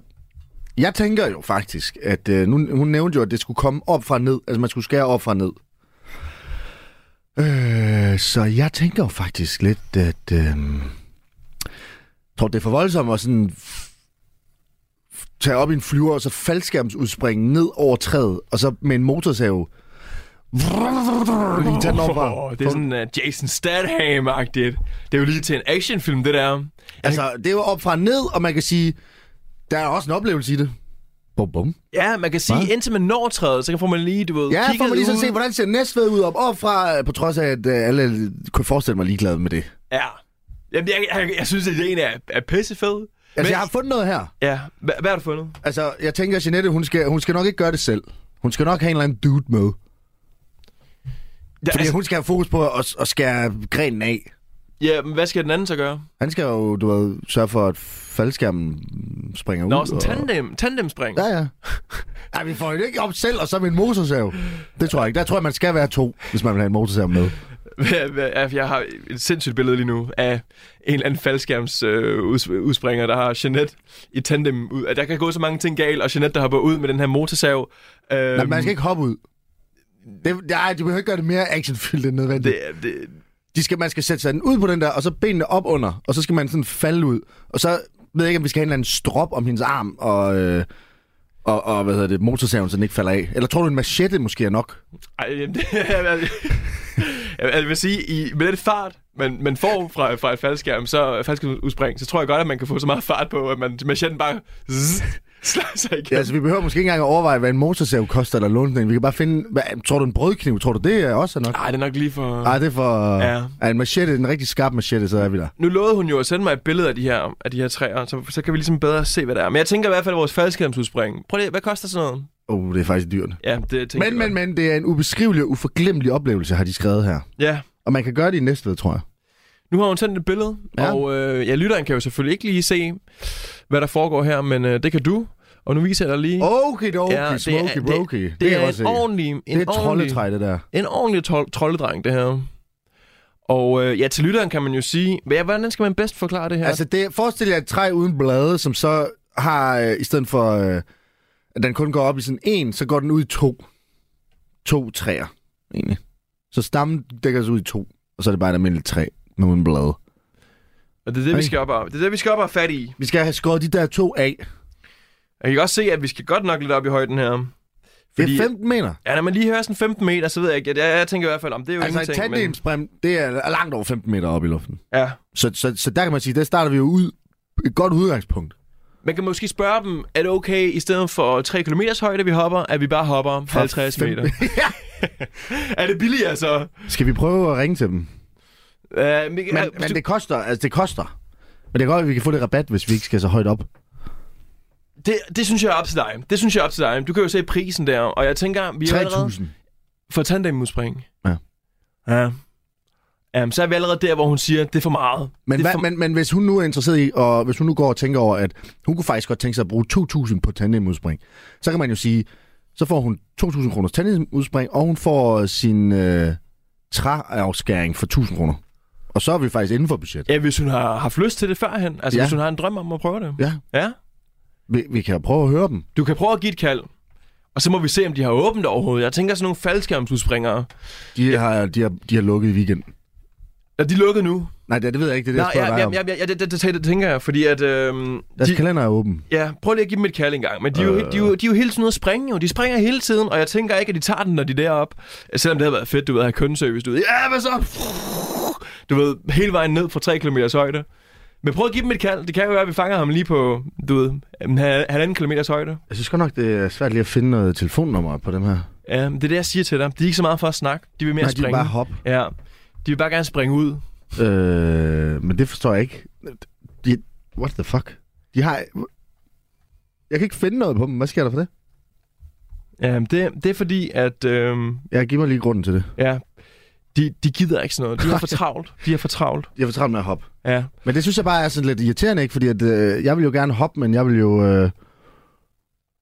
jeg tænker jo faktisk, at... Øh, nu, hun nævnte jo, at det skulle komme op fra ned. Altså, man skulle skære op fra ned. Øh, så jeg tænker jo faktisk lidt, at... Øh, jeg tror, det er for voldsomt at sådan f- f- tage op i en flyver, og så faldskærmsudspringe ned over træet, og så med en motorsav... Lige tage den op Åh, det er sådan uh, Jason Statham-agtigt. Det er jo lige til en actionfilm, det der. Altså, det er jo op fra ned, og man kan sige, der er også en oplevelse i det. Bum, bum. Ja, man kan sige, Hvad? indtil man når træet, så kan får man lige, du ved, Ja, får kigget man lige sådan ud. se, hvordan ser Næstved ud op, op fra, på trods af, at øh, alle kunne forestille mig ligeglade med det. Ja. Jamen, jeg, jeg, jeg synes, at ideen er, er pissefed. Altså, Men- jeg har fundet noget her. Ja, hvad, hvad har du fundet? Altså, jeg tænker, at Jeanette, hun skal, hun skal nok ikke gøre det selv. Hun skal nok have en eller anden dude med. Fordi Ja, altså, hun skal have fokus på at, at skære grenen af. ja, men hvad skal den anden så gøre? Han skal jo, du ved, sørge for, at faldskærmen springer ud. Nå, sådan og- tandem, tandemspring. Ja, ja. Ej, vi får jo ikke op selv, og så med en motorsav. Det tror jeg ikke. Der tror jeg, man skal være to, hvis man vil have en motorsav med. Hvad- hvad- ja, Jeg har et sindssygt billede lige nu af en eller anden faldskærms øh, uds- udspringer, der har Jeanette i tandem ud. At der kan gå så mange ting galt, og Jeanette, der hopper ud med den her motorsav. Øhm, Øhm. Man skal ikke hoppe ud. Det, nej, de behøver ikke gøre det mere actionfyldt end nødvendigt. Det, er- Øhm, det, De skal, man skal sætte sig den ud på den der, og så benene op under, og så skal man sådan falde ud. Og så ved jeg ikke, om vi skal have en eller anden strop om hendes arm, og, øh, og, og hvad hedder det, motorsaven, så den ikke falder af. Eller tror du, en machette måske er nok? Ej, jamen, det, jeg, jeg, jeg vil sige, i, med den fart, man, man får fra, fra et faldskærm, så faldskærmsudspring, så tror jeg godt, at man kan få så meget fart på, at man machetten bare zzz, slår sig Ja, igen. altså, vi behøver måske ikke engang at overveje, hvad en motorsav koster eller låne den. Vi kan bare finde, hvad, tror du, en brødkniv, tror du, det er også er nok? Nej, det er nok lige for... Nej, det er Ja. for... Ah. Ja. Er en machette, en rigtig skarp machette, så er vi der. Nu lovede hun jo at sende mig et billede af de her, af de her træer, så, så kan vi ligesom bedre se, hvad det er. Men jeg tænker i hvert fald, at vores faldskærmsudspring... Prøv lige, hvad koster sådan noget? Åh, oh, det er faktisk dyrt. Ja, det tænker Men, jeg men, men, det er en ubeskrivelig og uforglemmelig oplevelse, har de skrevet her. godt. Ja, Og man kan gøre det i næste ved, tror jeg. nu har hun sendt et billede, ja. Ja. og øh, ja, lytteren kan jo selvfølgelig ikke lige se, hvad der foregår her, men øh, det kan du. Og nu viser jeg dig lige... Okay, okay, Ja, ja, det smoky, er- det- brokey. Det, Det, kan jeg er godt en se. ordentlig, en Det er et ordentlig, troldetræ, det der. en ordentlig tol- trolddreng, det her. Og øh, ja, til lytteren kan man jo sige, hvad, hvordan skal man bedst forklare det her? Altså, det, forestil jer et træ uden blade, som så har, øh, i stedet for, øh, at den kun går op i sådan en, så går den ud i to. To træer, egentlig. Så stammen dækker sig ud i to, og så er det bare et almindeligt træ med uden blade. og det er det, vi Ej. skal op og, det er det, vi skal op og have fat i. Vi skal have skåret de der to af. Jeg kan også se, at vi skal godt nok lidt op i højden her. Fordi... Det er 15 meter. Ja, når man lige hører sådan 15 meter, så ved jeg ikke. Jeg, jeg, jeg tænker i hvert fald, om det er jo Altså, et ingenting. tandemsprem, men... det er langt over 15 meter op i luften. men, ja. Så, så, så der kan man sige, der starter vi jo ud et godt udgangspunkt. Man kan måske spørge dem, er det okay, i stedet for 3 km højde, vi hopper, at vi bare hopper 50 fem- meter? er det billigere så? Skal vi prøve at ringe til dem? Uh, men, men, Men, men det koster, altså det koster. Men det er godt, at vi kan få lidt rabat, hvis vi ikke skal så højt op. Det, det synes jeg er op til dig. Det synes jeg er op til dig. Du kan jo se prisen der, og jeg tænker, vi er allerede 3.000. for tandemudspring. Ja. Ja. Um, så er vi allerede der, hvor hun siger, det er for meget. Men, det er hvad, for... men, men hvis hun nu er interesseret i, og hvis hun nu går og tænker over, at hun kunne faktisk godt tænke sig at bruge 2.000 på tandemudspring, så kan man jo sige, så får hun 2.000 kroners tandemudspring, og hun får sin øh, træafskæring for 1.000 kroner. Og så er vi faktisk inden for budget. Ja, hvis hun har haft lyst til det førhen. Altså, ja. Ja. hvis hun har en drøm om at prøve det. Ja, Ja. vi, vi kan jo prøve at høre dem. Du kan prøve at give et kald. Og så må vi se, om de har åbent overhovedet. Jeg tænker sådan nogle faldskærmsudspringere. De, har, de, har, de har lukket i weekenden. Er de lukket nu? Nej, det, det ved jeg ikke, det er det, jeg ja, spørger dig ja, om. ja, ja, det, det, det, det tænker jeg, fordi at... Øhm, Deres de- kalender er åben. Ja, prøv lige at give dem et kald engang. Men de er, jo, de, er jo, de er jo hele tiden ude at springe, jo. De springer hele tiden, og jeg tænker ikke, at de tager den, når de er deroppe. Selvom det havde været fedt, du ved, at have kundeservice. Du ved, ja, hvad så? Du ved, hele vejen ned fra 3 km højde. Men prøv at give dem et kald. Det kan jo være, at vi fanger ham lige på, du ved, en hal- halvanden kilometers højde. Jeg synes godt nok, det er svært lige at finde noget telefonnummer på dem her. Ja, men Øhm, det er det, jeg siger til dig. De er ikke så meget for at snakke. De vil mere Nej, de vil springe. bare hoppe. Ja, de vil bare gerne springe ud. Øh, men det forstår jeg ikke. De, what the fuck? De har... Jeg kan ikke finde noget på dem. Hvad sker der for det? Ja, men Øhm, det, det er fordi, at øhm, Jeg giver mig lige grunden til det. ja, de, de gider ikke sådan noget. De har for travlt. De har for travlt. Jeg vil travlt med at hoppe. Ja. Men det synes jeg bare er sådan lidt irriterende, ikke? Fordi at, øh, jeg vil jo gerne hoppe, men jeg vil jo... Øh,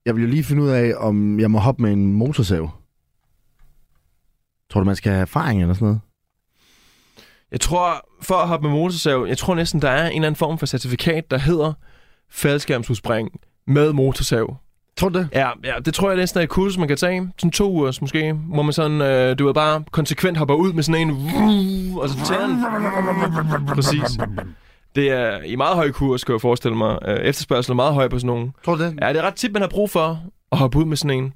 jeg vil jo lige finde ud af, om jeg må hoppe med en motorsav. Tror du, man skal have erfaring eller sådan noget? Jeg tror, for at hoppe med motorsav, jeg tror næsten, der er en eller anden form for certifikat, der hedder faldskærmsudspring med motorsav. Tror du det? Ja, ja, det tror jeg næsten er et kurs, man kan tage. Sådan to ugers måske, hvor man sådan, øh, du ved, bare konsekvent hopper ud med sådan en... Vrrr, og så tager den. Præcis. Det er i meget høj kurs, kan jeg forestille mig. Øh, Efterspørgsel er meget høj på sådan nogen. Tror du det? Ja, det er ret tit, man har brug for at hoppe ud med sådan en.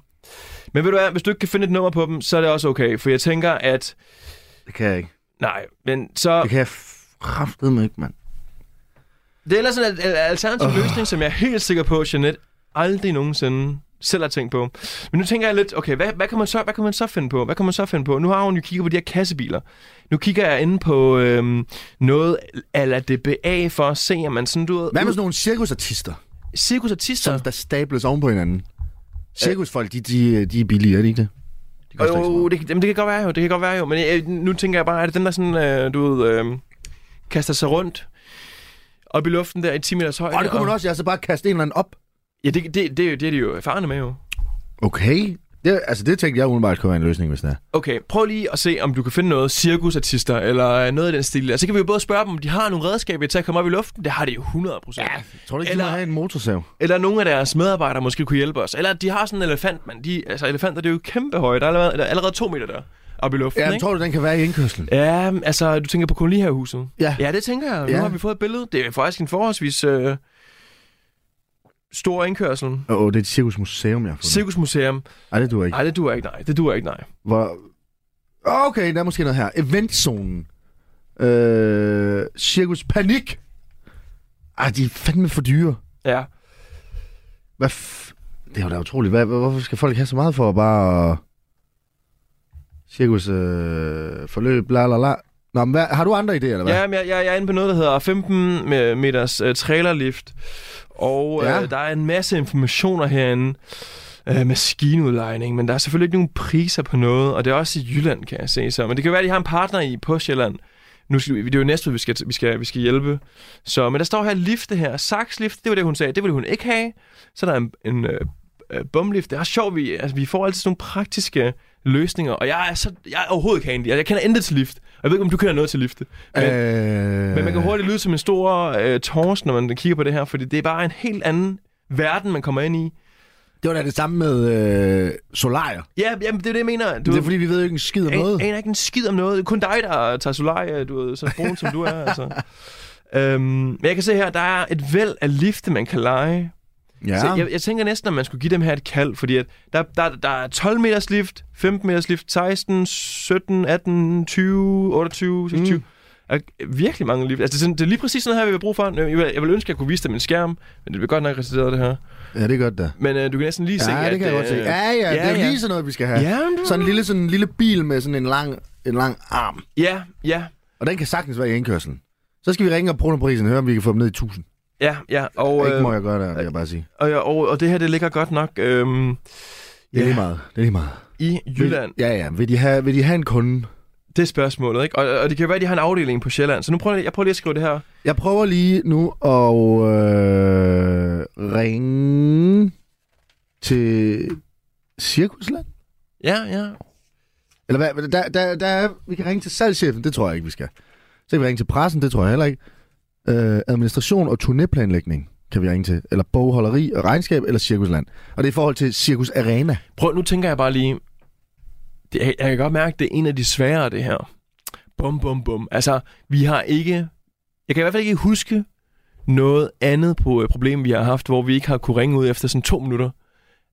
Men ved du hvad, hvis du ikke kan finde et nummer på dem, så er det også okay. For jeg tænker, at... Det kan jeg ikke. Nej, men så... Det kan jeg kraftedeme ikke, mand. Det er ellers en al- al- alternativ oh. løsning, som jeg er helt sikker på, Jeanette aldrig nogensinde selv har tænkt på. Men nu tænker jeg lidt, okay, hvad, hvad, kan man så, hvad kan man så finde på? Hvad kan man så finde på? Nu har hun jo kigget på de her kassebiler. Nu kigger jeg inde på øhm, noget ala DBA for at se, om man sådan, du ved... Hvad med sådan nogle cirkusartister, Cirkusartister. der stables oven på hinanden? Cirkusfolk, de, de, de er billige, er de ikke det? De koster ikke så Jo, meget. det, kan- jamen, det kan godt være jo, det kan godt være jo. Men jeg, nu tænker jeg bare, er det dem, der sådan, øh, du ved, øh, kaster sig rundt op i luften der i 10 meters højde? Og det kunne man også, altså bare kaste en eller anden op. Ja, det, det, det, er jo- det er de jo erfarne med jo. Okay. Det, altså, det tænkte jeg umiddelbart kunne være en løsning, hvis det er. Okay, prøv lige at se, om du kan finde noget cirkusartister eller noget i den stil. Og så kan vi jo både spørge dem, om de har nogle redskaber til at komme op i luften. Det har de jo 100%. Ja. Tror du ikke, Eller- eller... de må have en motorsav? Eller nogle af deres medarbejdere måske kunne hjælpe os. Eller de har sådan en elefant, mand. De, altså, elefanter, det er jo kæmpe høje. Der er allerede, der er allerede to meter der op i luften, Ja, ikke? men tror du, den kan være i indkørslen? Ja, altså, du tænker på kolonihavehuset? Ja. Ja, det tænker jeg. Nu Ja. har vi fået et billede. Det er faktisk en forholdsvis øh, stor indkørsel. Åh, oh, det er et cirkusmuseum, jeg har fundet. Cirkusmuseum. Ej, det duer ikke. Nej, det duer ikke, nej. Det duer ikke, nej. Hvor... Åh, Okay, der er måske noget her. Eventzonen. Øh, cirkus Panik. Ej, de er fandme for dyre. Ja. Hvad f... Det er jo da utroligt. Hvad, hvorfor skal folk have så meget for at bare... Cirkus øh, forløb, la la la. Nå, men hvad, har du andre idéer, eller hvad? Ja, men jeg, jeg, jeg er inde på noget, der hedder 15 me- meters øh, trailerlift. Og ja. Ja. øh, der er en masse informationer herinde. Øh, maskinudlejning, men der er selvfølgelig ikke nogen priser på noget, og det er også i Jylland, kan jeg se så. Men det kan være, at de har en partner i på Sjælland. Nu skal, vi- det er jo næste, vi skal, vi, skal, vi skal hjælpe. Så, men der står her lifte her. Sakslift, det var det, hun sagde. Det ville hun ikke have. Så der er en, en øh, øh, bumlift. Det er også sjovt, vi, altså, vi får altid sådan nogle praktiske løsninger. Og jeg er, så, jeg er overhovedet ikke handy. Altså, Jeg, jeg kender intet til lift. Og jeg ved ikke, om du kender noget til lifte. Men, Øh, men man kan hurtigt lyde som en stor øh, tors, når man kigger på det her, fordi det er bare en helt anden verden, man kommer ind i. Det var da det samme med øh, solarier. Ja, jamen, det er det, jeg mener. Du Det er fordi, vi ved jo ikke en skid om noget. an, aner ikke en skid om noget. Det er kun dig, der tager solarie, du er så brun, som du er. Altså. Øhm, men jeg kan se her, der er et væld af lifte, man kan lege. Ja. Så jeg, jeg tænker næsten, at man skulle give dem her et kald, fordi at der, der, der er 12 meters lift, 15 meters lift, 16, 17, 18, 20, 28, 26. Mm. Er virkelig mange lift. Altså, det er, sådan, det er lige præcis sådan her, vi vil bruge for. Øh, Jeg vil, jeg vil ønske, at jeg kunne vise dig min skærm, men det bliver godt nok restitueret, det her. ja, det er godt da. Men øh, du kan næsten lige se, Ja, at... det kan jeg godt se. øh, Ja, ja, det er ja. lige sådan noget, vi skal have. Ja, men det- Sådan en lille, sådan en lille bil med sådan en lang, en lang arm. Ja, ja, Og den kan sagtens være i indkørselen. Så skal vi ringe op Pronoprisen og høre, om vi kan få dem ned i 1000. ja, ja. Og, Ikke øh, må jeg gøre det, vil jeg bare sige. og, og, og det her, det ligger godt nok øhm, Det er ja. lige meget. Det er lige meget. i Jylland. Ja, ja. Vil de have, vil de have en kunde? Det er spørgsmålet, ikke? Og, og det kan være, at de har en afdeling på Sjælland. Så nu prøver jeg, jeg prøver lige at skrive det her. Jeg prøver lige nu at øh, ringe til Cirkusland. Ja, ja. Eller hvad? Der, der, der er, vi kan ringe til salgschefen, det tror jeg ikke, vi skal. Så kan vi ringe til pressen, det tror jeg heller ikke. Øh, administration og turnéplanlægning kan vi ringe til. Eller bogholderi og regnskab, eller Cirkusland. Og det er i forhold til Cirkus Arena. Prøv, nu tænker jeg bare lige... Det, jeg, jeg kan godt mærke, det er en af de sværere, det her. Bum, bum, bum. Altså, vi har ikke... Jeg kan i hvert fald ikke huske noget andet på øh, problem, vi har haft, hvor vi ikke har kunne ringe ud efter sådan to minutter.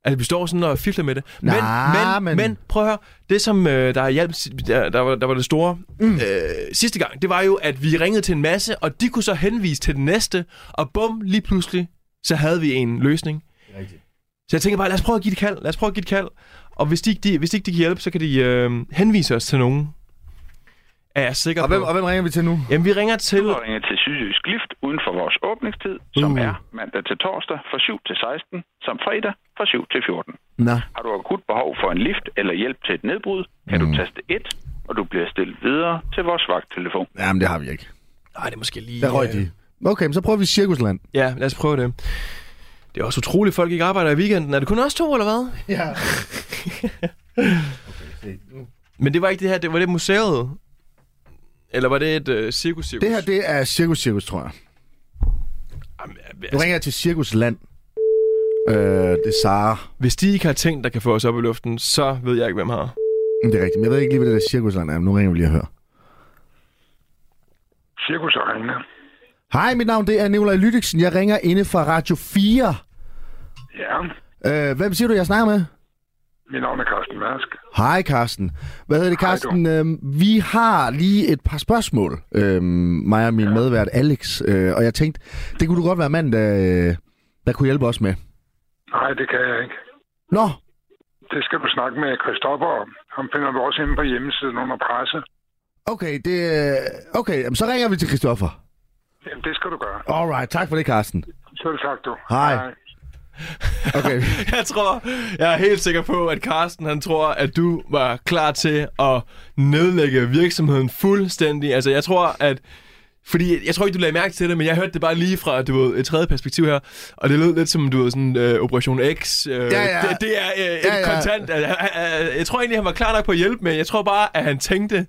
Altså, vi står sådan og fifler med det. Men, Nah, men, men- men prøv at høre. Det, som øh, der hjalp, der, der, var, der var det store mm. øh, sidste gang, det var jo, at vi ringede til en masse, og de kunne så henvise til den næste, og bum, lige pludselig, så havde vi en løsning. Så jeg tænker bare, lad os prøve at give det kald. Lad os prøve at give det kald. Og hvis de, ikke- de, hvis de ikke de kan hjælpe, så kan de øh, henvise os til nogen. Er jeg sikker Og på. hvem, og hvem ringer vi til nu? Jamen, vi ringer til... Du har ringet til Sydjysk Lift uden for vores åbningstid, som Uh. er mandag til torsdag fra 7 til 16, samt fredag fra 7 til 14. Nå. Har du akut behov for en lift eller hjælp til et nedbrud, kan du taste 1, og du bliver stillet videre til vores vagttelefon. Jamen, det har vi ikke. Nej, det er måske lige... Der røg øh, de. Okay, men så prøver vi Cirkusland. Ja, lad os prøve det. Det er også utroligt, folk ikke arbejder i weekenden. Er det kun os to, eller hvad? Ja. Men det var ikke det her. Det var det museet. Eller var det et øh, cirkus-cirkus? Det her, det er Cirkus Cirkus, tror jeg. Jamen, Nu altså, ringer jeg til Cirkusland. Og Øh, det er Sara. Hvis de ikke har ting, der kan få os op i luften, så ved jeg ikke, hvem har. Mm, Det er rigtigt. Men jeg ved ikke lige, hvad det der cirkusland er, men nu ringer vi lige og hører. Cirkus Arena. Hej, mit navn det er Nikolaj Lydiksen. Jeg ringer inde fra Radio 4. Ja, Øh, hvem siger du, jeg snakker med? mit navn er Carsten Mærsk. Hej, Karsten. Hvad hedder det, Karsten? Øhm, vi har lige et par spørgsmål. Øhm, mig og min ja. medvært Alex. Øh, og jeg tænkte, det kunne du godt være mand, der, øh, der kunne hjælpe os med. Nej, det kan jeg ikke. Nå, Det skal du snakke med Christoffer om. Han finder du også inde på hjemmesiden under presse. okay, det, øh, okay jamen, så ringer vi til Christoffer. Jamen, det skal du gøre. Alright, tak for det, Karsten. Selv tak, du. Hej. Okay, Jeg tror, jeg er helt sikker på, at Carsten han tror, at du var klar til at nedlægge virksomheden fuldstændig. Altså, jeg tror, at... Fordi jeg tror ikke, du lagde mærke til det, men jeg hørte det bare lige fra du ved, et tredje perspektiv her. Og det lød lidt som, du ved, sådan øh, Operation X. Øh, Ja, ja. Det, det er øh, Ja, ja, ja. ja. kontant. Altså, han- han- jeg tror egentlig, han var klar nok på at hjælpe, men jeg tror bare, at han tænkte,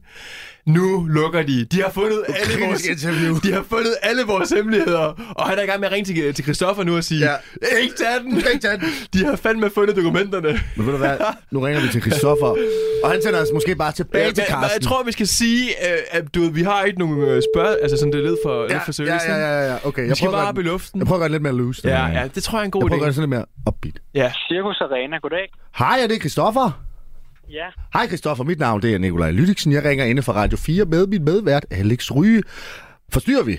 nu lukker de. De har fundet alle vores, kritisk interview. de har fundet alle vores hemmeligheder. Og han er i gang med at ringe til, til Christoffer nu og sige, Ja. ja. ikke tage den. Ikke tage den. De har fandme fundet dokumenterne. men ved du hvad? Nu ringer vi til Christoffer. Og han sender os måske bare tilbage til men, men Karsten. jeg tror, vi skal sige, øh, at du, ved, vi har ikke nogen øh, spørg... Altså sådan, det lød for, ja, lidt for ja, seriøst. ja, ikke? ja, ja, ja. Okay, Vi skal prøver bare at gøre op i den- luften. Jeg prøver at gøre den lidt mere loose. den Ja, her. ja, det tror jeg er en Jeg god prøver at idé. gøre det sådan lidt mere upbeat. Ja. Cirkus Arena, goddag. Hej, er det Christoffer? Ja, Hej Christoffer, mit navn det er Nikolaj Lydiksen. Jeg ringer inde fra Radio 4 med min medvært Alex Ryge. Forstyrrer vi?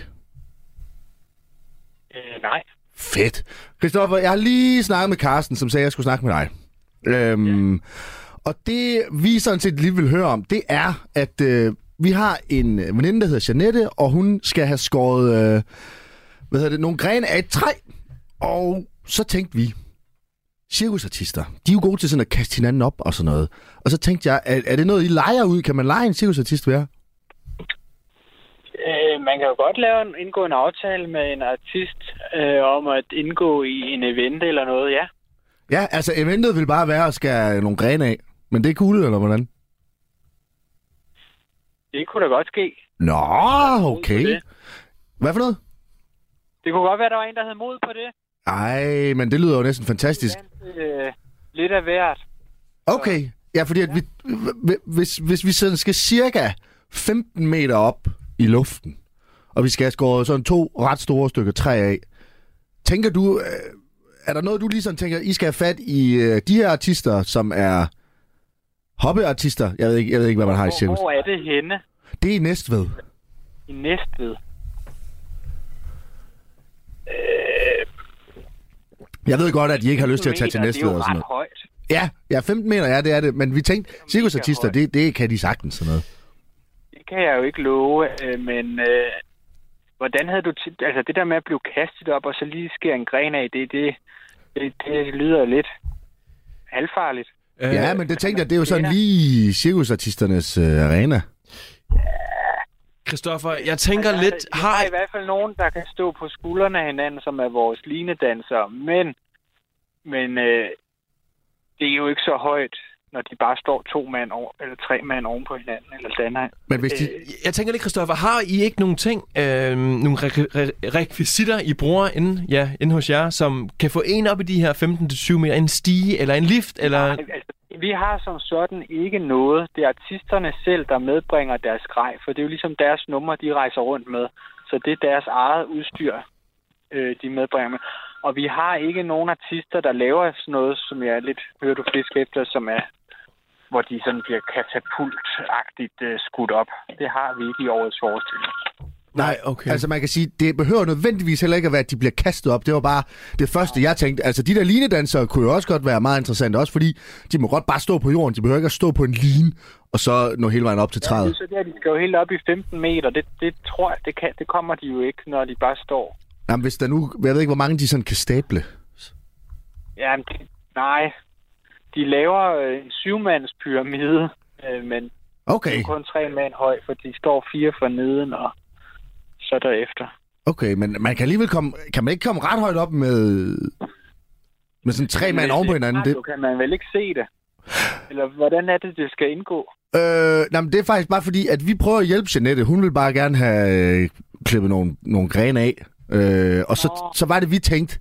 øh, nej. Fedt. Christoffer, jeg har lige snakket med Carsten, som sagde, at jeg skulle snakke med dig. Øhm, Og det vi sådan set lige vil høre om, det er, at øh, vi har en øh, veninde, der hedder Janette, og hun skal have skåret øh, hvad hedder det, nogle grene af et træ. Og så tænkte vi, cirkusartister, de er jo gode til sådan at kaste hinanden op og sådan noget. Og så tænkte jeg, er, er det noget, I leger ud? Kan man lege en cirkusartist være? Øh, man kan jo godt lave en, indgå en aftale med en artist øh, om at indgå i en event eller noget, ja. Ja, altså eventet vil bare være at skære nogle grene af. Men det er cool, eller hvordan? Det kunne da godt ske. Nå, Mod på okay. det. Hvad for noget? Det kunne godt være, at der var en, der havde mod på det. Ej, men det lyder jo næsten fantastisk. Øh, lidt af hvert. Okay, ja, fordi at vi, hv- hvis, hvis vi sådan skal cirka 15 meter op i luften, og vi skal have skåret sådan to ret store stykker træ af, tænker du, øh, er der noget, du ligesom tænker, I skal have fat i øh, de her artister, som er hobbyartister? Jeg ved ikke, jeg ved ikke hvad man har i Hvor, cirkus. hvor er det henne Det er Næstved. i Næstved? Jeg ved godt, at I ikke har lyst til at tage til Meter, Næstved altså, og Det er sådan jo ret noget. højt. Ja, ja, 15 meter, ja, det er det. Men vi tænkte, cirkusartister, højt. det, det kan de sagtens sådan noget. Det kan jeg jo ikke love, øh, men... Øh, Hvordan havde du... T- altså, det der med at blive kastet op, og så lige skære en gren af, det, det, det, det lyder lidt halvfarligt. Øh, Ja, men det tænkte jeg, det er jo sådan lige cirkusartisternes øh, arena. Christoffer, jeg tænker Der er- lidt... Der Har er Altså, i hvert fald nogen, der kan stå på skuldrene af hinanden, som er vores linedansere, men, men øh, det er jo ikke så højt, når de bare står to mand over, eller tre mand oven på hinanden, eller danner. Men hvis de... jeg tænker lidt, Christoffer, har I ikke nogle ting, øh, nogle re- re- rekvisitter, I bruger inde, ja, inde hos jer, som kan få en op i de her 15-20 meter, en stige eller en lift? Eller... Altså, vi har som sådan ikke noget. Det er artisterne selv, der medbringer deres grej, for det er jo ligesom deres numre, de rejser rundt med. Så det er deres eget udstyr, øh, de medbringer med. Og vi har ikke nogen artister, der laver sådan noget, som jeg lidt hører du fisk efter, som er hvor de sådan bliver katapultagtigt øh, skudt op. Det har vi ikke i årets forestilling. Nej, okay. Altså man kan sige, det behøver nødvendigvis heller ikke at være, at de bliver kastet op. Det var bare det første, jeg tænkte. Altså de der linedansere kunne jo også godt være meget interessante, også fordi de må godt bare stå på jorden. De behøver ikke at stå på en line og så nå hele vejen op til træet. Så det er, de skal jo helt op i 15 meter. Det, det tror jeg, det, kan, det kommer de jo ikke, når de bare står Jamen hvis der nu, jeg ved ikke, hvor mange de sådan kan stable. Ja, de, nej. De laver øh, en syvmandspyramide, øh, men det Okay, er kun tre mand høj, for de står fire for neden og så derefter. okay, men man kan alligevel komme, kan man ikke komme ret højt op med, med sådan tre mand oven på hinanden? Det, Det... øh, kan man vel ikke se det. Eller hvordan er det, det skal indgå? Øh, nej, men det er faktisk bare fordi, at vi prøver at hjælpe Janette. Hun vil bare gerne have øh, klippet nogle, nogle grene af. Øh, og så, så var det, vi tænkte,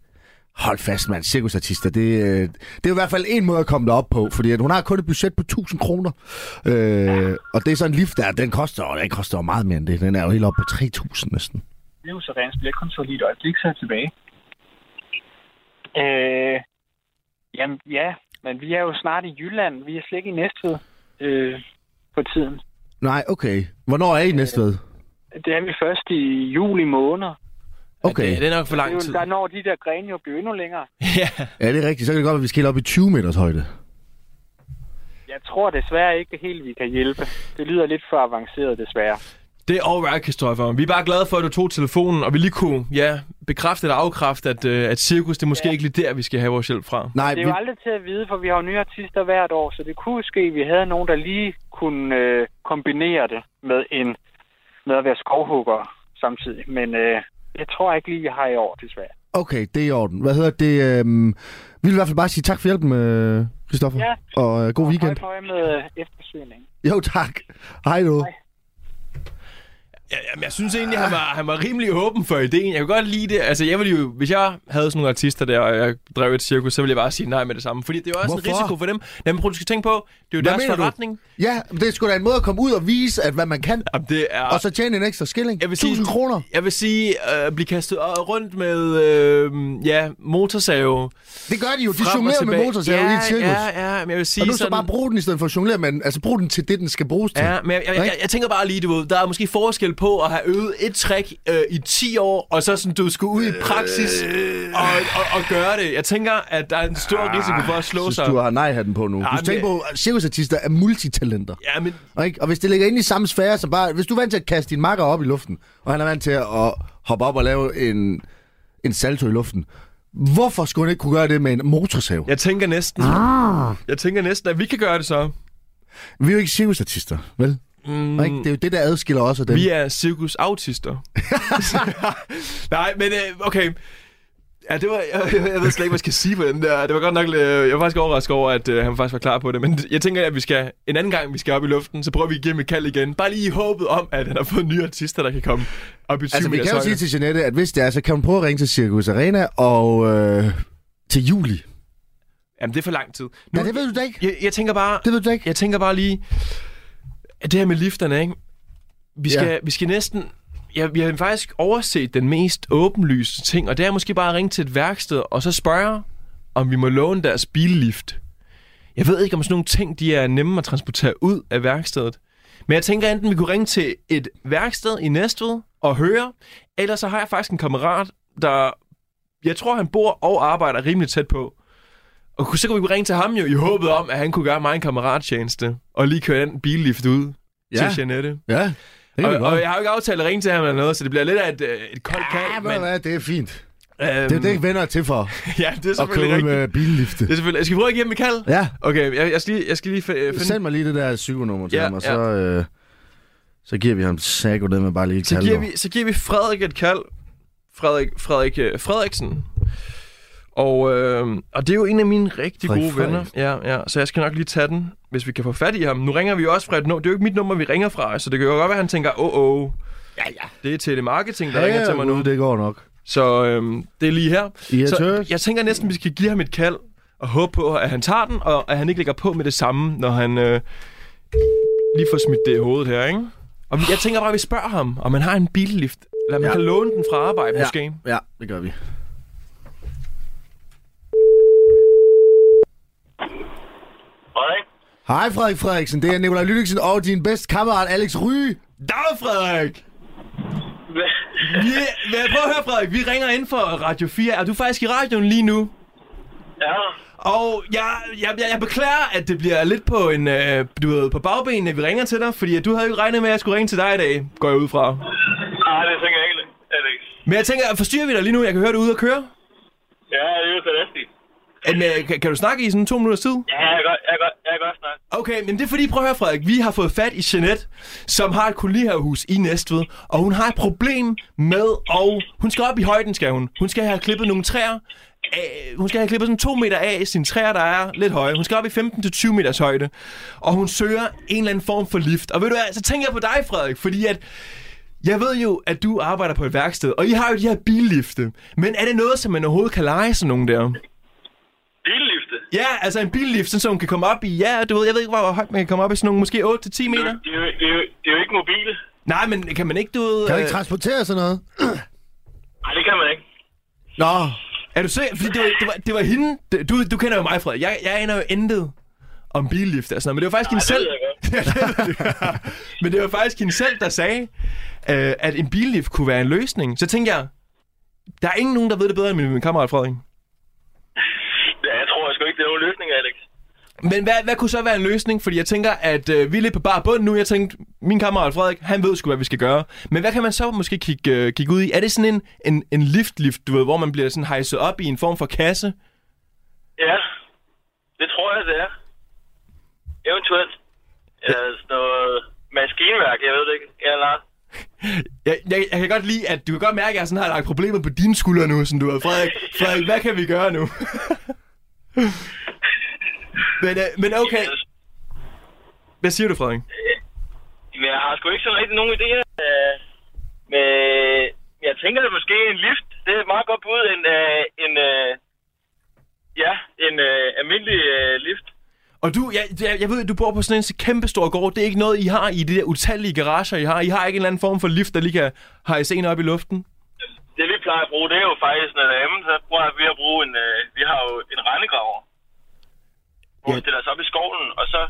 Hold fast, mand. Cirkusartister, det, øh, det er jo i hvert fald en måde at komme derop på, fordi at hun har kun et budget på 1000 kroner. Øh, Og det er sådan en lift der, den koster, og den koster jo meget mere end det. Den er jo helt oppe på 3000 næsten. Det er jo så rent billetkontor lige et øjeblik, så er jeg tilbage. Øh, jamen, ja, men vi er jo snart i Jylland. Vi er slet ikke i Næstved øh, på tiden. Nej, okay. Hvornår er I Øh, næste ved? Det er vi først i juli måned. Ja, det, Okay. det er nok for Det er lang tid. jo, der når de der grene jo bliver endnu længere. Ja. Ja, det er rigtigt. Så kan det godt være, at vi skal helt op i 20 meters højde. Jeg tror desværre ikke helt, vi kan hjælpe. Det lyder lidt for avanceret, desværre. Det er alright, Kristoffer. Vi er bare glade for, at du tog telefonen, og vi lige kunne ja, bekræfte eller afkræfte, at, øh, at cirkus, det er måske ja. ikke lige der, vi skal have vores hjælp fra. Nej, Det vi, er jo aldrig til at vide, for vi har jo nye artister hvert år, så det kunne ske, at vi havde nogen, der lige kunne øh, kombinere det med, en, med at være skovhugger samtidig. Men øh, jeg tror ikke lige, vi har i år, desværre. okay, det er i orden. Hvad hedder det? Øh, vi vil i hvert fald bare sige tak for hjælpen, øh, Christoffer. Ja. Og øh, god weekend. Og høj med øh, eftersøgning. Jo, tak. Hej nu. Ja, jamen, jeg synes egentlig, han var, han var rimelig åben for ideen. Jeg kunne godt lide det. Altså, jeg ville jo, hvis jeg havde sådan nogle artister der, og jeg drev et cirkus, så ville jeg bare sige nej med det samme. Fordi det er jo også en Hvorfor? risiko for dem. Jamen, prøv, du skal tænke på, det er jo Hvad deres mener du? forretning. Ja, men det er sgu da en måde at komme ud og vise, at hvad man kan. Jamen, det er... Og så tjene en ekstra skilling. 1000 kroner. Jeg vil sige, øh, blive kastet øh, rundt med, øh, ja, motorsave. Det gør de jo. De frem og jonglerer med tilbage. motorsave ja, i et cirkus. Ja, ja, men jeg vil sige og nu så sådan... bare bruge den i stedet for at jonglere, men altså brug den til det, den skal bruges til. Ja, men jeg, jeg, jeg, jeg tænker bare lige, du ved, der er måske forskel på at have øvet et trick øh, i 10 år, og så sådan, du skal ud i praksis og, og, og gøre det. Jeg tænker, at der er en stor risiko for at slå Synes, sig. du har nej-hatten på nu. Ja, Ja, du tænker men- på, at cirkusartister er multitalenter. Ja, men Og, ikke? og hvis det ligger inde i samme sfære, så bare... Hvis du er vant til at kaste din makker op i luften, og han er vant til at hoppe op og lave en, en salto i luften, hvorfor skulle han ikke kunne gøre det med en motorsav? Ja. jeg tænker næsten, jeg tænker næsten, at vi kan gøre det så. Vi er jo ikke cirkusartister, vel? Mm. Og ikke? Det er jo det, der adskiller os og dem. Vi er cirkusautister. Nej, men øh, okay. Ja, det var, jeg, jeg, jeg ved slet ikke, hvad jeg skal sige på den der. Det var godt nok, øh, jeg var faktisk overrasket over, at øh, han faktisk var klar på det. Men jeg tænker, at vi skal en anden gang, vi skal op i luften, så prøver vi at give ham et kald igen. Bare lige i håbet om, at han har fået nye artister, der kan komme op i Altså, vi syvende kan jo sæson. sige til Jeanette, at hvis det er, så kan hun prøve at ringe til Cirkus Arena og øh, til juli. Jamen, det er for lang tid. Nu, Ja, det ved du da ikke. jeg, jeg tænker bare... Det ved du da ikke. Jeg tænker bare lige, at det her med lifterne, ikke? Vi Ja. skal, ja. vi skal næsten... Ja, vi har faktisk overset den mest åbenlyse ting, og det er måske bare at ringe til et værksted, og så spørge, om vi må låne deres billift. Jeg ved ikke, om sådan nogle ting, de er nemme at transportere ud af værkstedet. Men jeg tænker enten, vi kunne ringe til et værksted i Næstved og høre, eller så har jeg faktisk en kammerat, der... Jeg tror, han bor og arbejder rimelig tæt på. Og kunne- så kunne vi ringe til ham jo i håbet om, at han kunne gøre mig en kammerat-tjeneste. Og lige køre den billift ud ja. til Jeanette. ja. Det kan Og, vi godt. og jeg har jo ikke aftalt at ringe til ham eller noget, så det bliver lidt af et, øh, et koldt Ja, kald. ved du men, hvad, det er fint. øhm, Det er jo det, venner er til for, Ja, det er at køre selvfølgelig ud rigtigt. med billifte. Det er selvfølgelig. Skal vi prøve at give ham et kald? Ja, Okay, jeg, jeg, skal lige, jeg skal lige fi- øh, finde... send mig lige det der psykonummer til Ja, ham, og så, øh, så giver vi ham sæk det med bare lige et Så kald giver, over. vi, så giver vi Frederik et kald. Frederik, Frederik øh, Frederiksen. Og, øh, og det er jo en af mine rigtig Frederik gode venner. Ja, ja, så jeg skal nok lige tage den, hvis vi kan få fat i ham. Nu ringer vi jo også fra et nummer. Det er jo ikke mit nummer, vi ringer fra, så det kan jo godt være, at han tænker, åh, oh, oh. Ja, ja. Det er telemarketing, der ja, ringer til mig nu. Øh, det går nok. Så øh, det er lige her. I er så tøs. jeg tænker næsten, vi skal give ham et kald og håbe på, at han tager den, og at han ikke lægger på med det samme, når han øh, lige får smidt det i hovedet her, ikke? Og vi- jeg tænker bare, at vi spørger ham, om man har en billift, eller om man Ja. kan låne den fra arbejde, Ja, måske. ja, det gør vi. Frederik? Hej Frederik Frederiksen, det er Nikolaj Lydiksen og din bedste kammerat Alex Ryge. Dag, Frederik! Vi, yeah, prøv at høre, Frederik. Vi ringer ind for Radio 4. Er du faktisk i radioen lige nu? Ja, Og jeg, jeg, jeg, jeg beklager, at det bliver lidt på en, øh, du ved, på bagbenene, at vi ringer til dig, fordi at du havde jo ikke regnet med, at jeg skulle ringe til dig i dag, går jeg ud fra. nej, det tænker jeg ikke, Alex. Men jeg tænker, forstyrrer vi dig lige nu? Jeg kan høre dig ude at køre. Ja, det er jo fantastisk. Men, øh, kan, kan du snakke i sådan to minutters tid? Ja, jeg kan godt, jeg kan godt, jeg kan godt snakke. Okay, men det er fordi, prøv at høre Frederik, vi har fået fat i Jeanette, som har et kolonihavehus i Næstved, og hun har et problem med, og hun skal op i højden, skal hun. Hun skal have klippet nogle træer, af, hun skal have klippet sådan to meter af sine træer, der er lidt høje. Hun skal op i 15-20 meters højde, og hun søger en eller anden form for lift. Og ved du hvad, så tænker jeg på dig, Frederik, fordi at Jeg ved jo, at du arbejder på et værksted, og I har jo de her billifte. Men er det noget, som man overhovedet kan lege sådan nogen der? Billifte? Ja, altså en billift, sådan, så hun kan komme op i... Ja, du ved, jeg ved ikke, hvor højt man kan komme op i sådan nogle, måske 8-10 Det, meter? det, er jo- det, er jo, det er jo ikke mobile. Nej, men kan man ikke, du ved... Kan man ikke øh, transportere sådan noget? Nej, det kan man ikke. Nå, Er du sikker? Fordi det var, det var, det var hende... det- Du, du kender jo mig, Frederik. Jeg, jeg aner jo intet om billift og sådan noget, men det var faktisk hende selv... ved jeg men det var faktisk hende selv, der sagde, øh, at en billift kunne være en løsning. Så tænkte jeg, der er ingen nogen, der ved det bedre end min, min kammerat Frederik. Ja, jeg tror sgu ikke, det er nogen løsning, Alex. Men hvad, hvad kunne så være en løsning? Fordi jeg tænker, at øh, vi er lidt på bar bund nu. Jeg tænkte, min kammerat Frederik, han ved sgu, hvad vi skal gøre. Men hvad kan man så måske kigge, øh, kigge ud i? Er det sådan en, en, en lift-lift, du ved, hvor man bliver sådan hejset op i en form for kasse? Ja, det tror jeg, det er. Eventuelt. Eller sådan noget maskinværk, jeg ved det ikke. Ja, nej. Jeg, jeg, jeg kan godt lide, at du kan godt mærke, at jeg sådan har lagt problemet på dine skuldre nu, sådan du ved. Frederik, Frederik hvad kan vi gøre nu? men, øh, men okay, hvad siger du, Frederik? Men jeg har sgu ikke så rigtig nogen idéer. øh, Men jeg tænker, at måske en lift, det er et meget godt bud. En, øh, en, øh, ja, en øh, almindelig øh, lift. Og du, jeg, jeg, jeg ved, du bor på sådan en kæmpe stor gård. Det er ikke noget, I har i de der utallige garager, I har. I har ikke en eller anden form for lift, der lige kan hejse en op i luften. Det vi plejer at bruge, det er jo faktisk noget andet. Så prøver vi at bruge en, øh, vi har jo en rendegraver. Hvor Ja. ja. stiller sig op i skoven, og så,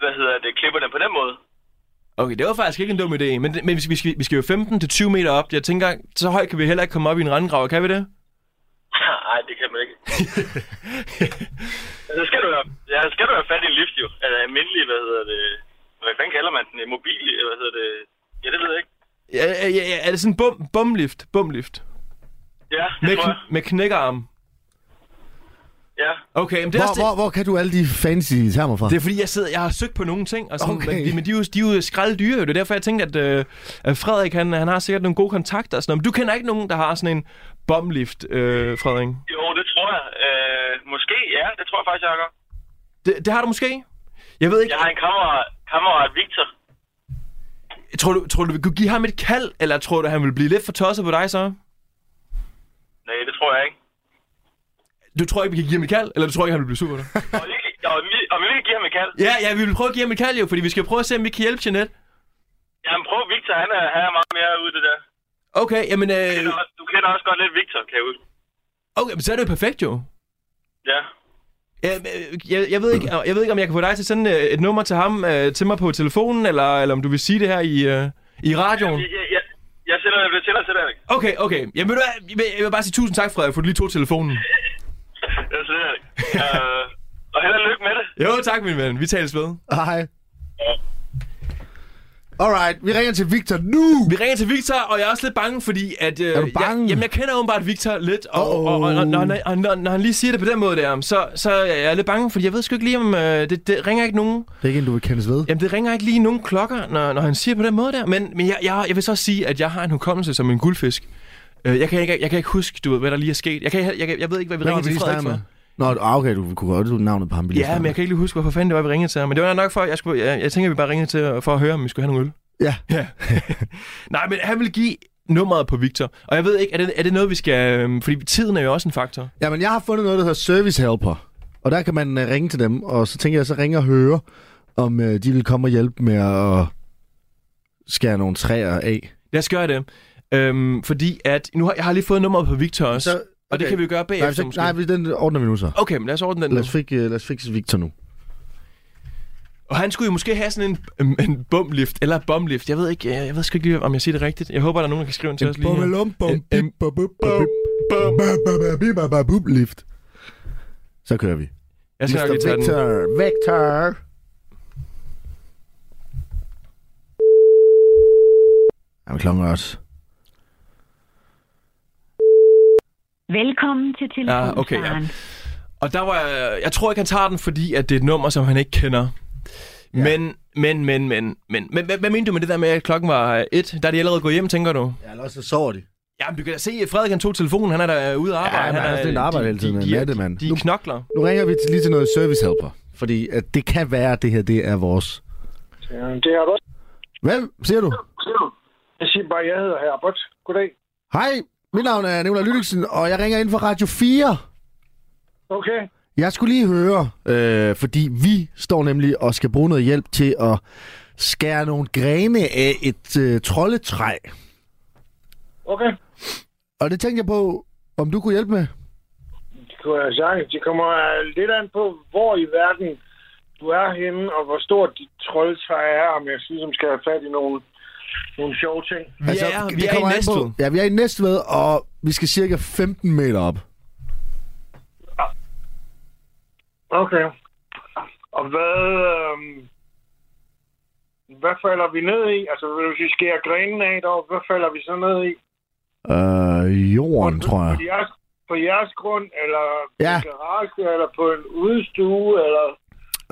hvad hedder det, klipper den på den måde. Okay, det var faktisk ikke en dum idé, men, men vi, skal, vi, skal, vi skal jo 15-20 meter op. Jeg tænker, så højt kan vi heller ikke komme op i en rendegrav, kan vi det? Nej, det kan man ikke. så skal du have, ja, så skal du have fat i en lift, jo. Altså almindelig, hvad hedder det, hvad fanden kalder man den? En Mobil, hvad hedder det? Ja, det ved jeg ikke. Ja, ja, ja, ja, er det sådan en bum, bumlift? Bumlift. Ja, det Med, tror jeg. kn- med knækkearm. Ja. Okay, men det er, hvor, også det, hvor, hvor kan du alle de fancy termer fra? det er fordi, jeg, sidder, jeg har søgt på nogle ting, og sådan, Okay. okay. men, men de, er jo, de er jo skralddyre, jo. Det er derfor, jeg tænkte, at, øh, at Frederik, han, han har sikkert nogle gode kontakter og sådan noget. Men du kender ikke nogen, der har sådan en bomlift, øh, Frederik? Jo, det tror jeg. Øh, måske, ja, det tror jeg faktisk, jeg har. Det, det har du måske? Jeg ved ikke, Jeg har en kammerat, kammerat Victor. tror du, tror du, vi kunne give ham et kald, eller tror du, han vil blive lidt for tosset på dig så? Nej, det tror jeg ikke. Du tror ikke, vi kan give ham et kald, eller du tror ikke, han vil blive sur på dig? Og vi, og vi, og vi vil give ham et kald. ja, ja, vi vil prøve at give ham et kald jo, fordi vi skal prøve at se, om vi kan hjælpe Jeanette. Jamen prøv, Victor, han er, han er meget mere ude i det der. Okay, jamen, Du øh, kender også- Du kender også godt lidt Victor, kan jeg huske. okay, men så er det jo perfekt jo. Ja. Øhm, øh, Jeg, jeg, ved ikke, jeg ved ikke, om jeg kan få dig til at sende øh, et nummer til ham øh, til mig på telefonen, eller, eller om du vil sige det her i, øh, i radioen. Jeg, jeg, jeg sender det til dig til dig. Okay, okay. Jamen, ved du hvad? Jeg vil- jeg vil bare sige tusind tak, Frederik, for at du lige tog telefonen. Jeg sender det. Øh, og held og lykke med det. Jo, tak, min ven. Vi tales ved. Hej. Alright, vi ringer til Victor nu! Vi ringer til Victor, og jeg er også lidt bange, fordi at... Øh, Er du bange? Jeg, jamen, jeg kender åbenbart Victor lidt, og, oh. Åh. og, og, og når, når, når, når han lige siger det på den måde der, så, så er jeg lidt bange, fordi jeg ved sgu ikke lige, om... Øh, det, det ringer ikke nogen... Det er ikke en, du vil kendes ved. Jamen, det ringer ikke lige nogen klokker, når, når han siger på den måde der. Men, men jeg, jeg, jeg vil så også sige, at jeg har en hukommelse som en guldfisk. Øh, Jeg kan, ikke, jeg kan ikke huske, du ved, hvad der lige er sket. Jeg, kan, jeg, jeg, jeg ved ikke, hvad vi Hvem var ringede det, vi til lige Frederik snakkede for. med? Nå, ah, okay, du kunne godt du navnet på ham. vi lige Ja, snakkede men jeg kan ikke lige huske, hvorfor fanden det var, vi ringede til ham. Men det var nok for, at jeg, skulle, jeg, jeg tænker, at vi bare ringede til for at høre, om vi skulle have nogle øl. med. Ja, Ja. Nej, men han vil give nummeret på Victor. Og jeg ved ikke, er det, er det noget, vi skal... øhm, Fordi tiden er jo også en faktor. Jamen, jeg har fundet noget, der hedder Service Helper. Og der kan man øh, ringe til dem, og så tænker jeg, så ringer og høre, om øh, de vil komme og hjælpe med at skære nogle træer af. Lad os gøre det. Øhm, fordi at... Nu har, jeg har lige fået nummeret på Victor også. Så- Så, okay. Og det okay. kan vi jo gøre Nej, bagefter, så, måske. nej, vi- den ordner vi nu så. Okay, men lad os ordne den Lad nu. os, fik, øh, lad os fikse Victor nu. Og han skulle jo måske have sådan en, øhm, en bumlift, eller bomlift. Jeg ved ikke, jeg, jeg ved sgu ikke lige, om jeg siger det rigtigt. Jeg håber, der er nogen, der kan skrive ind til os lige her. bum, bip, Lift. Så kører vi. Jeg skal nok Mr. lige tage den. Victor, Victor. Jamen, klokken er også. Velkommen til Ja, telefonsvaren. okay, ja. Og der var jeg, jeg tror ikke, han tager den, fordi at det er et nummer, som han ikke kender. Ja. Men, men, men, men, men, men, hvad, hvad mente du med det der med, at klokken var øh, et? Der er de allerede gået hjem, tænker du? Ja, eller også så sover de. Jamen, du kan da se, at Frederik han tog telefonen, han er der øh, ude at arbejde. men han er er, sådan en arbejder hele tiden, de, en de, de, nattemand. de, Nu- de knokler. Nu ringer vi til, lige til noget service helper, fordi at det kan være, at det her det er vores. Jamen, det har du også. Hvad siger du? siger du? Jeg siger bare, at jeg hedder Herbert. Goddag. Hej, mit navn er Nicolai Lydiksen, og jeg ringer ind fra Radio 4. Okay. Jeg skulle lige høre, øh, fordi vi står nemlig og skal bruge noget hjælp til at skære nogle grene af et øh, troldetræ. Okay. Og det tænkte jeg på, om du kunne hjælpe med. Det kunne jeg sagtens. Det kommer øh, lidt an på, hvor i verden du er henne, og hvor stort dit troldtræ er, om jeg synes, som skal have fat i nogle, nogle sjove ting. Vi altså, er, vi er i kommer an Næstved. På, ja, vi er i Næstved, og vi skal cirka 15 meter op. Okay. Og hvad, øhm, hvad falder vi ned i? Altså, hvis vi skærer grenen af deroppe, hvad falder vi så ned i? Øh, jorden, tror jeg. På jeres, på jeres grund, eller Ja. ja. en garage, eller på en udstue, eller...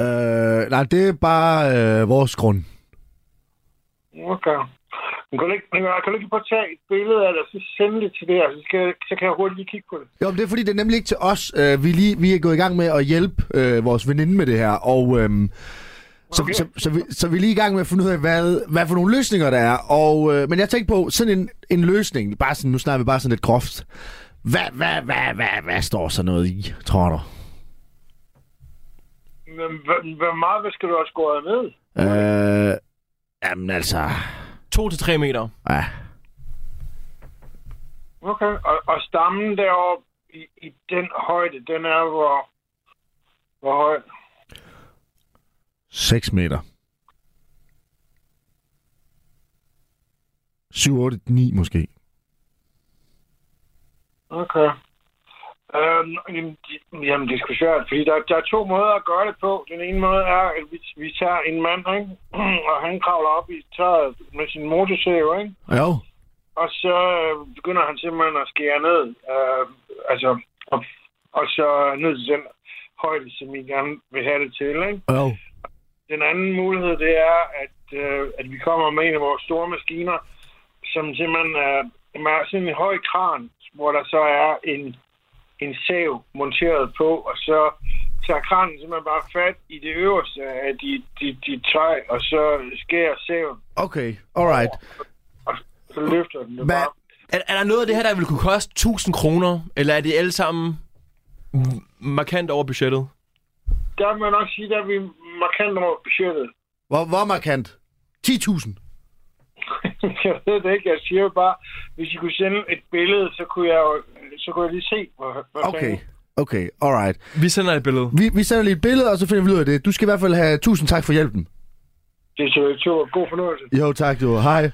Øh, nej, det er bare øh, vores grund. Okay. Men Kan du ikke, men kan du ikke bare tage et billede af det, og så sende det til det, og så, skal, så kan jeg hurtigt lige kigge på det? Jo, men det er fordi, det er nemlig ikke til os. Øh, vi, er lige, vi er gået i gang med at hjælpe øh, vores veninde med det her, og øhm, så, Okay. okay. så, så, så, vi, så vi er lige i gang med at finde ud af, hvad, hvad for nogle løsninger der er. Og, øh, men jeg tænkte på sådan en, en løsning, bare sådan, nu snakker vi bare sådan lidt groft. Hvad, hvad, hvad, hvad, hvad står så noget i, tror du? Men hvor- hvor meget hvad skal du have skåret ned? Øh, jamen altså, To til tre meter. ja. Okay. Og, og stammen deroppe i, i den højde, den er hvor, hvor høj? 6 meter. 7, 8, 9 måske. Okay. Øhm, jamen, de- jamen, det er sgu svært, fordi der, der er to måder at gøre det på. Den ene måde er, at vi, vi tager en mand, ikke? og han kravler op i tøjet med sin motorsav, ikke? Jo, og så øh, begynder han simpelthen at skære ned, øh, altså, og, og så ned til den højde, som I gerne vil have det til, ikke? jo. Den anden mulighed, det er, at, øh, at vi kommer med en af vores store maskiner, som simpelthen øh, er sådan en høj kran, hvor der så er en, en sav monteret på, og så tager kranen simpelthen bare fat i det øverste af dit, dit, dit træ, og så skærer saven, Okay, alright. og så løfter den det Hvad- bare. Er, er der noget af det her, der ville kunne koste 1000 kroner? Eller er de alle sammen m- markant over budgettet? Der må jeg nok sige, at vi er markant over budgettet. Hvor, hvor markant? 10.000. jeg ved det ikke. Jeg siger jo bare, hvis I kunne sende et billede, så kunne jeg, jo- så kunne jeg lige se, hvor, hvor Okay, okay, alright. Vi sender et billede. Vi, vi sender lige et billede, og så finder vi ud af det. Du skal i hvert fald have tusind tak for hjælpen. Det er så to. God fornøjelse. Jo, tak du. Hej.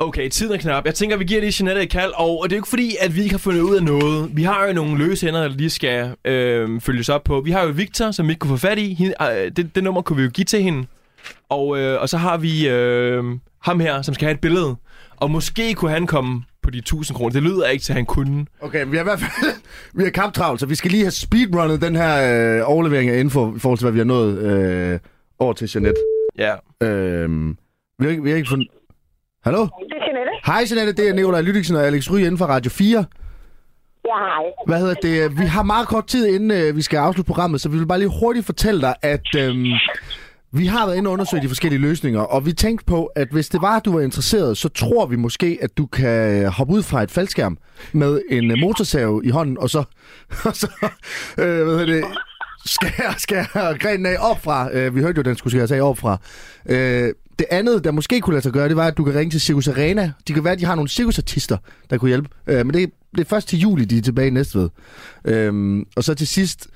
Okay, tiden er knap. Jeg tænker, vi giver lige Jeanette et kald, og, og det er jo ikke fordi, at vi ikke har fundet ud af noget. Vi har jo nogle løse hænder, der lige skal øh, følges op på. Vi har jo Victor, som vi ikke kunne få fat i. Hende, øh, det, det nummer kunne vi jo give til hende. Og, øh, og så har vi øh, ham her, som skal have et billede. Og måske kunne han komme på de 1000 kroner. Det lyder ikke til, at han kunne. Okay, vi har i hvert fald vi har kamptravl, så vi skal lige have speedrunnet den her øh, overlevering af info i forhold til, hvad vi har nået øh, over til Jeanette. Ja. Øh, vi har ikke, vi har ikke fundet... Hallo? Det er Jeanette. Hej Jeanette, det er Nicolaj Lydiksen og Alex Ry inden for Radio 4. Ja, hej. Hvad hedder det? Vi har meget kort tid, inden øh, vi skal afslutte programmet, så vi vil bare lige hurtigt fortælle dig, at øhm, vi har været inde og undersøge de forskellige løsninger, og vi tænkte på, at hvis det var, at du var interesseret, så tror vi måske, at du kan øh, hoppe ud fra et faldskærm med en øh, motorsav i hånden, og så, og så øh, hvad hedder det, skære, skære grenen af opfra. Øh, vi hørte jo, at den skulle skæres af opfra. Øh, det andet, der måske kunne lade sig gøre, det var, at du kan ringe til Circus Arena. De kan være, at de har nogle cirkusartister, der kunne hjælpe. Øh, men det, det er først til juli, de er tilbage i Næstved. Øhm, og så til sidst,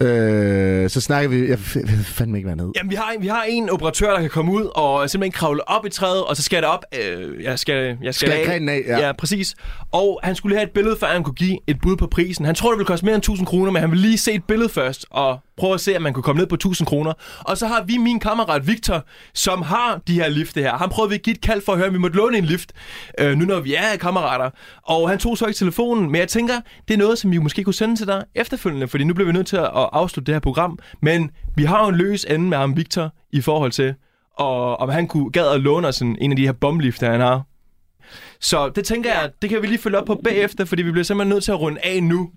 øh, så snakker vi... Jeg f- ved fandme ikke, hvad han hed. Jamen, vi har, en, vi har en operatør, der kan komme ud og simpelthen kravle op i træet, og så skal det op. Øh, jeg skal, jeg skal, Skal grenen af, ja. ja. præcis. Og han skulle lige have et billede, før han kunne give et bud på prisen. Han tror, det ville koste mere end 1000 kroner, men han vil lige se et billede først, og prøve at se, om man kunne komme ned på 1000 kroner. Og så har vi min kammerat Victor, som har de her lifte her. Han prøvede vi at give et kald for at høre, om vi måtte låne en lift, øh, nu når vi er kammerater. Og han tog så ikke telefonen, men jeg tænker, det er noget, som vi måske kunne sende til dig efterfølgende, fordi nu bliver vi nødt til at afslutte det her program. Men vi har jo en løs ende med ham, Victor, i forhold til, og om han kunne gad at låne os en, en af de her bomblifter, han har. Så det tænker jeg, det kan vi lige følge op på bagefter, fordi vi bliver simpelthen nødt til at runde af nu.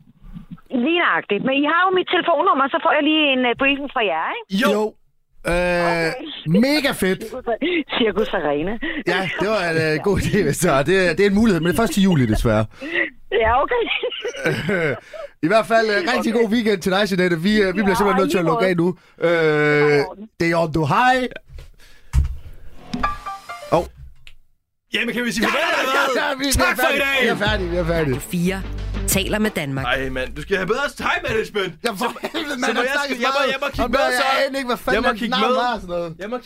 Lige nøjagtigt. Men I har jo mit telefonnummer, så får jeg lige en uh, briefing øh, fra jer, ikke? Jo, jo. Øh, mega fedt. Cirkus Arena. Ja, det var en øh, god idé, hvis det var. Det, det er en mulighed, men det er først til juli, desværre. Ja, okay. I hvert fald, øh, rigtig god weekend til dig, Jeanette. Vi, øh, vi bliver Ja, simpelthen nødt til at lige lukke af nu. er i Øh, orden. det er on du. Hej. Oh. Jamen, kan vi sige farvel, eller hvad? Ja, vi, Tak vi er for i færdige. dag! Vi er færdige, vi er færdige. 4 taler med Danmark. Ej, mand, du skal have bedre time management. Ja, for helvede, så mand. må der jeg- snakkes jeg må- meget jeg må om kigge det, med, og så. Jeg aner ikke, hvad Jeg fanden må hans kigge navn med. var og sådan noget. Jeg må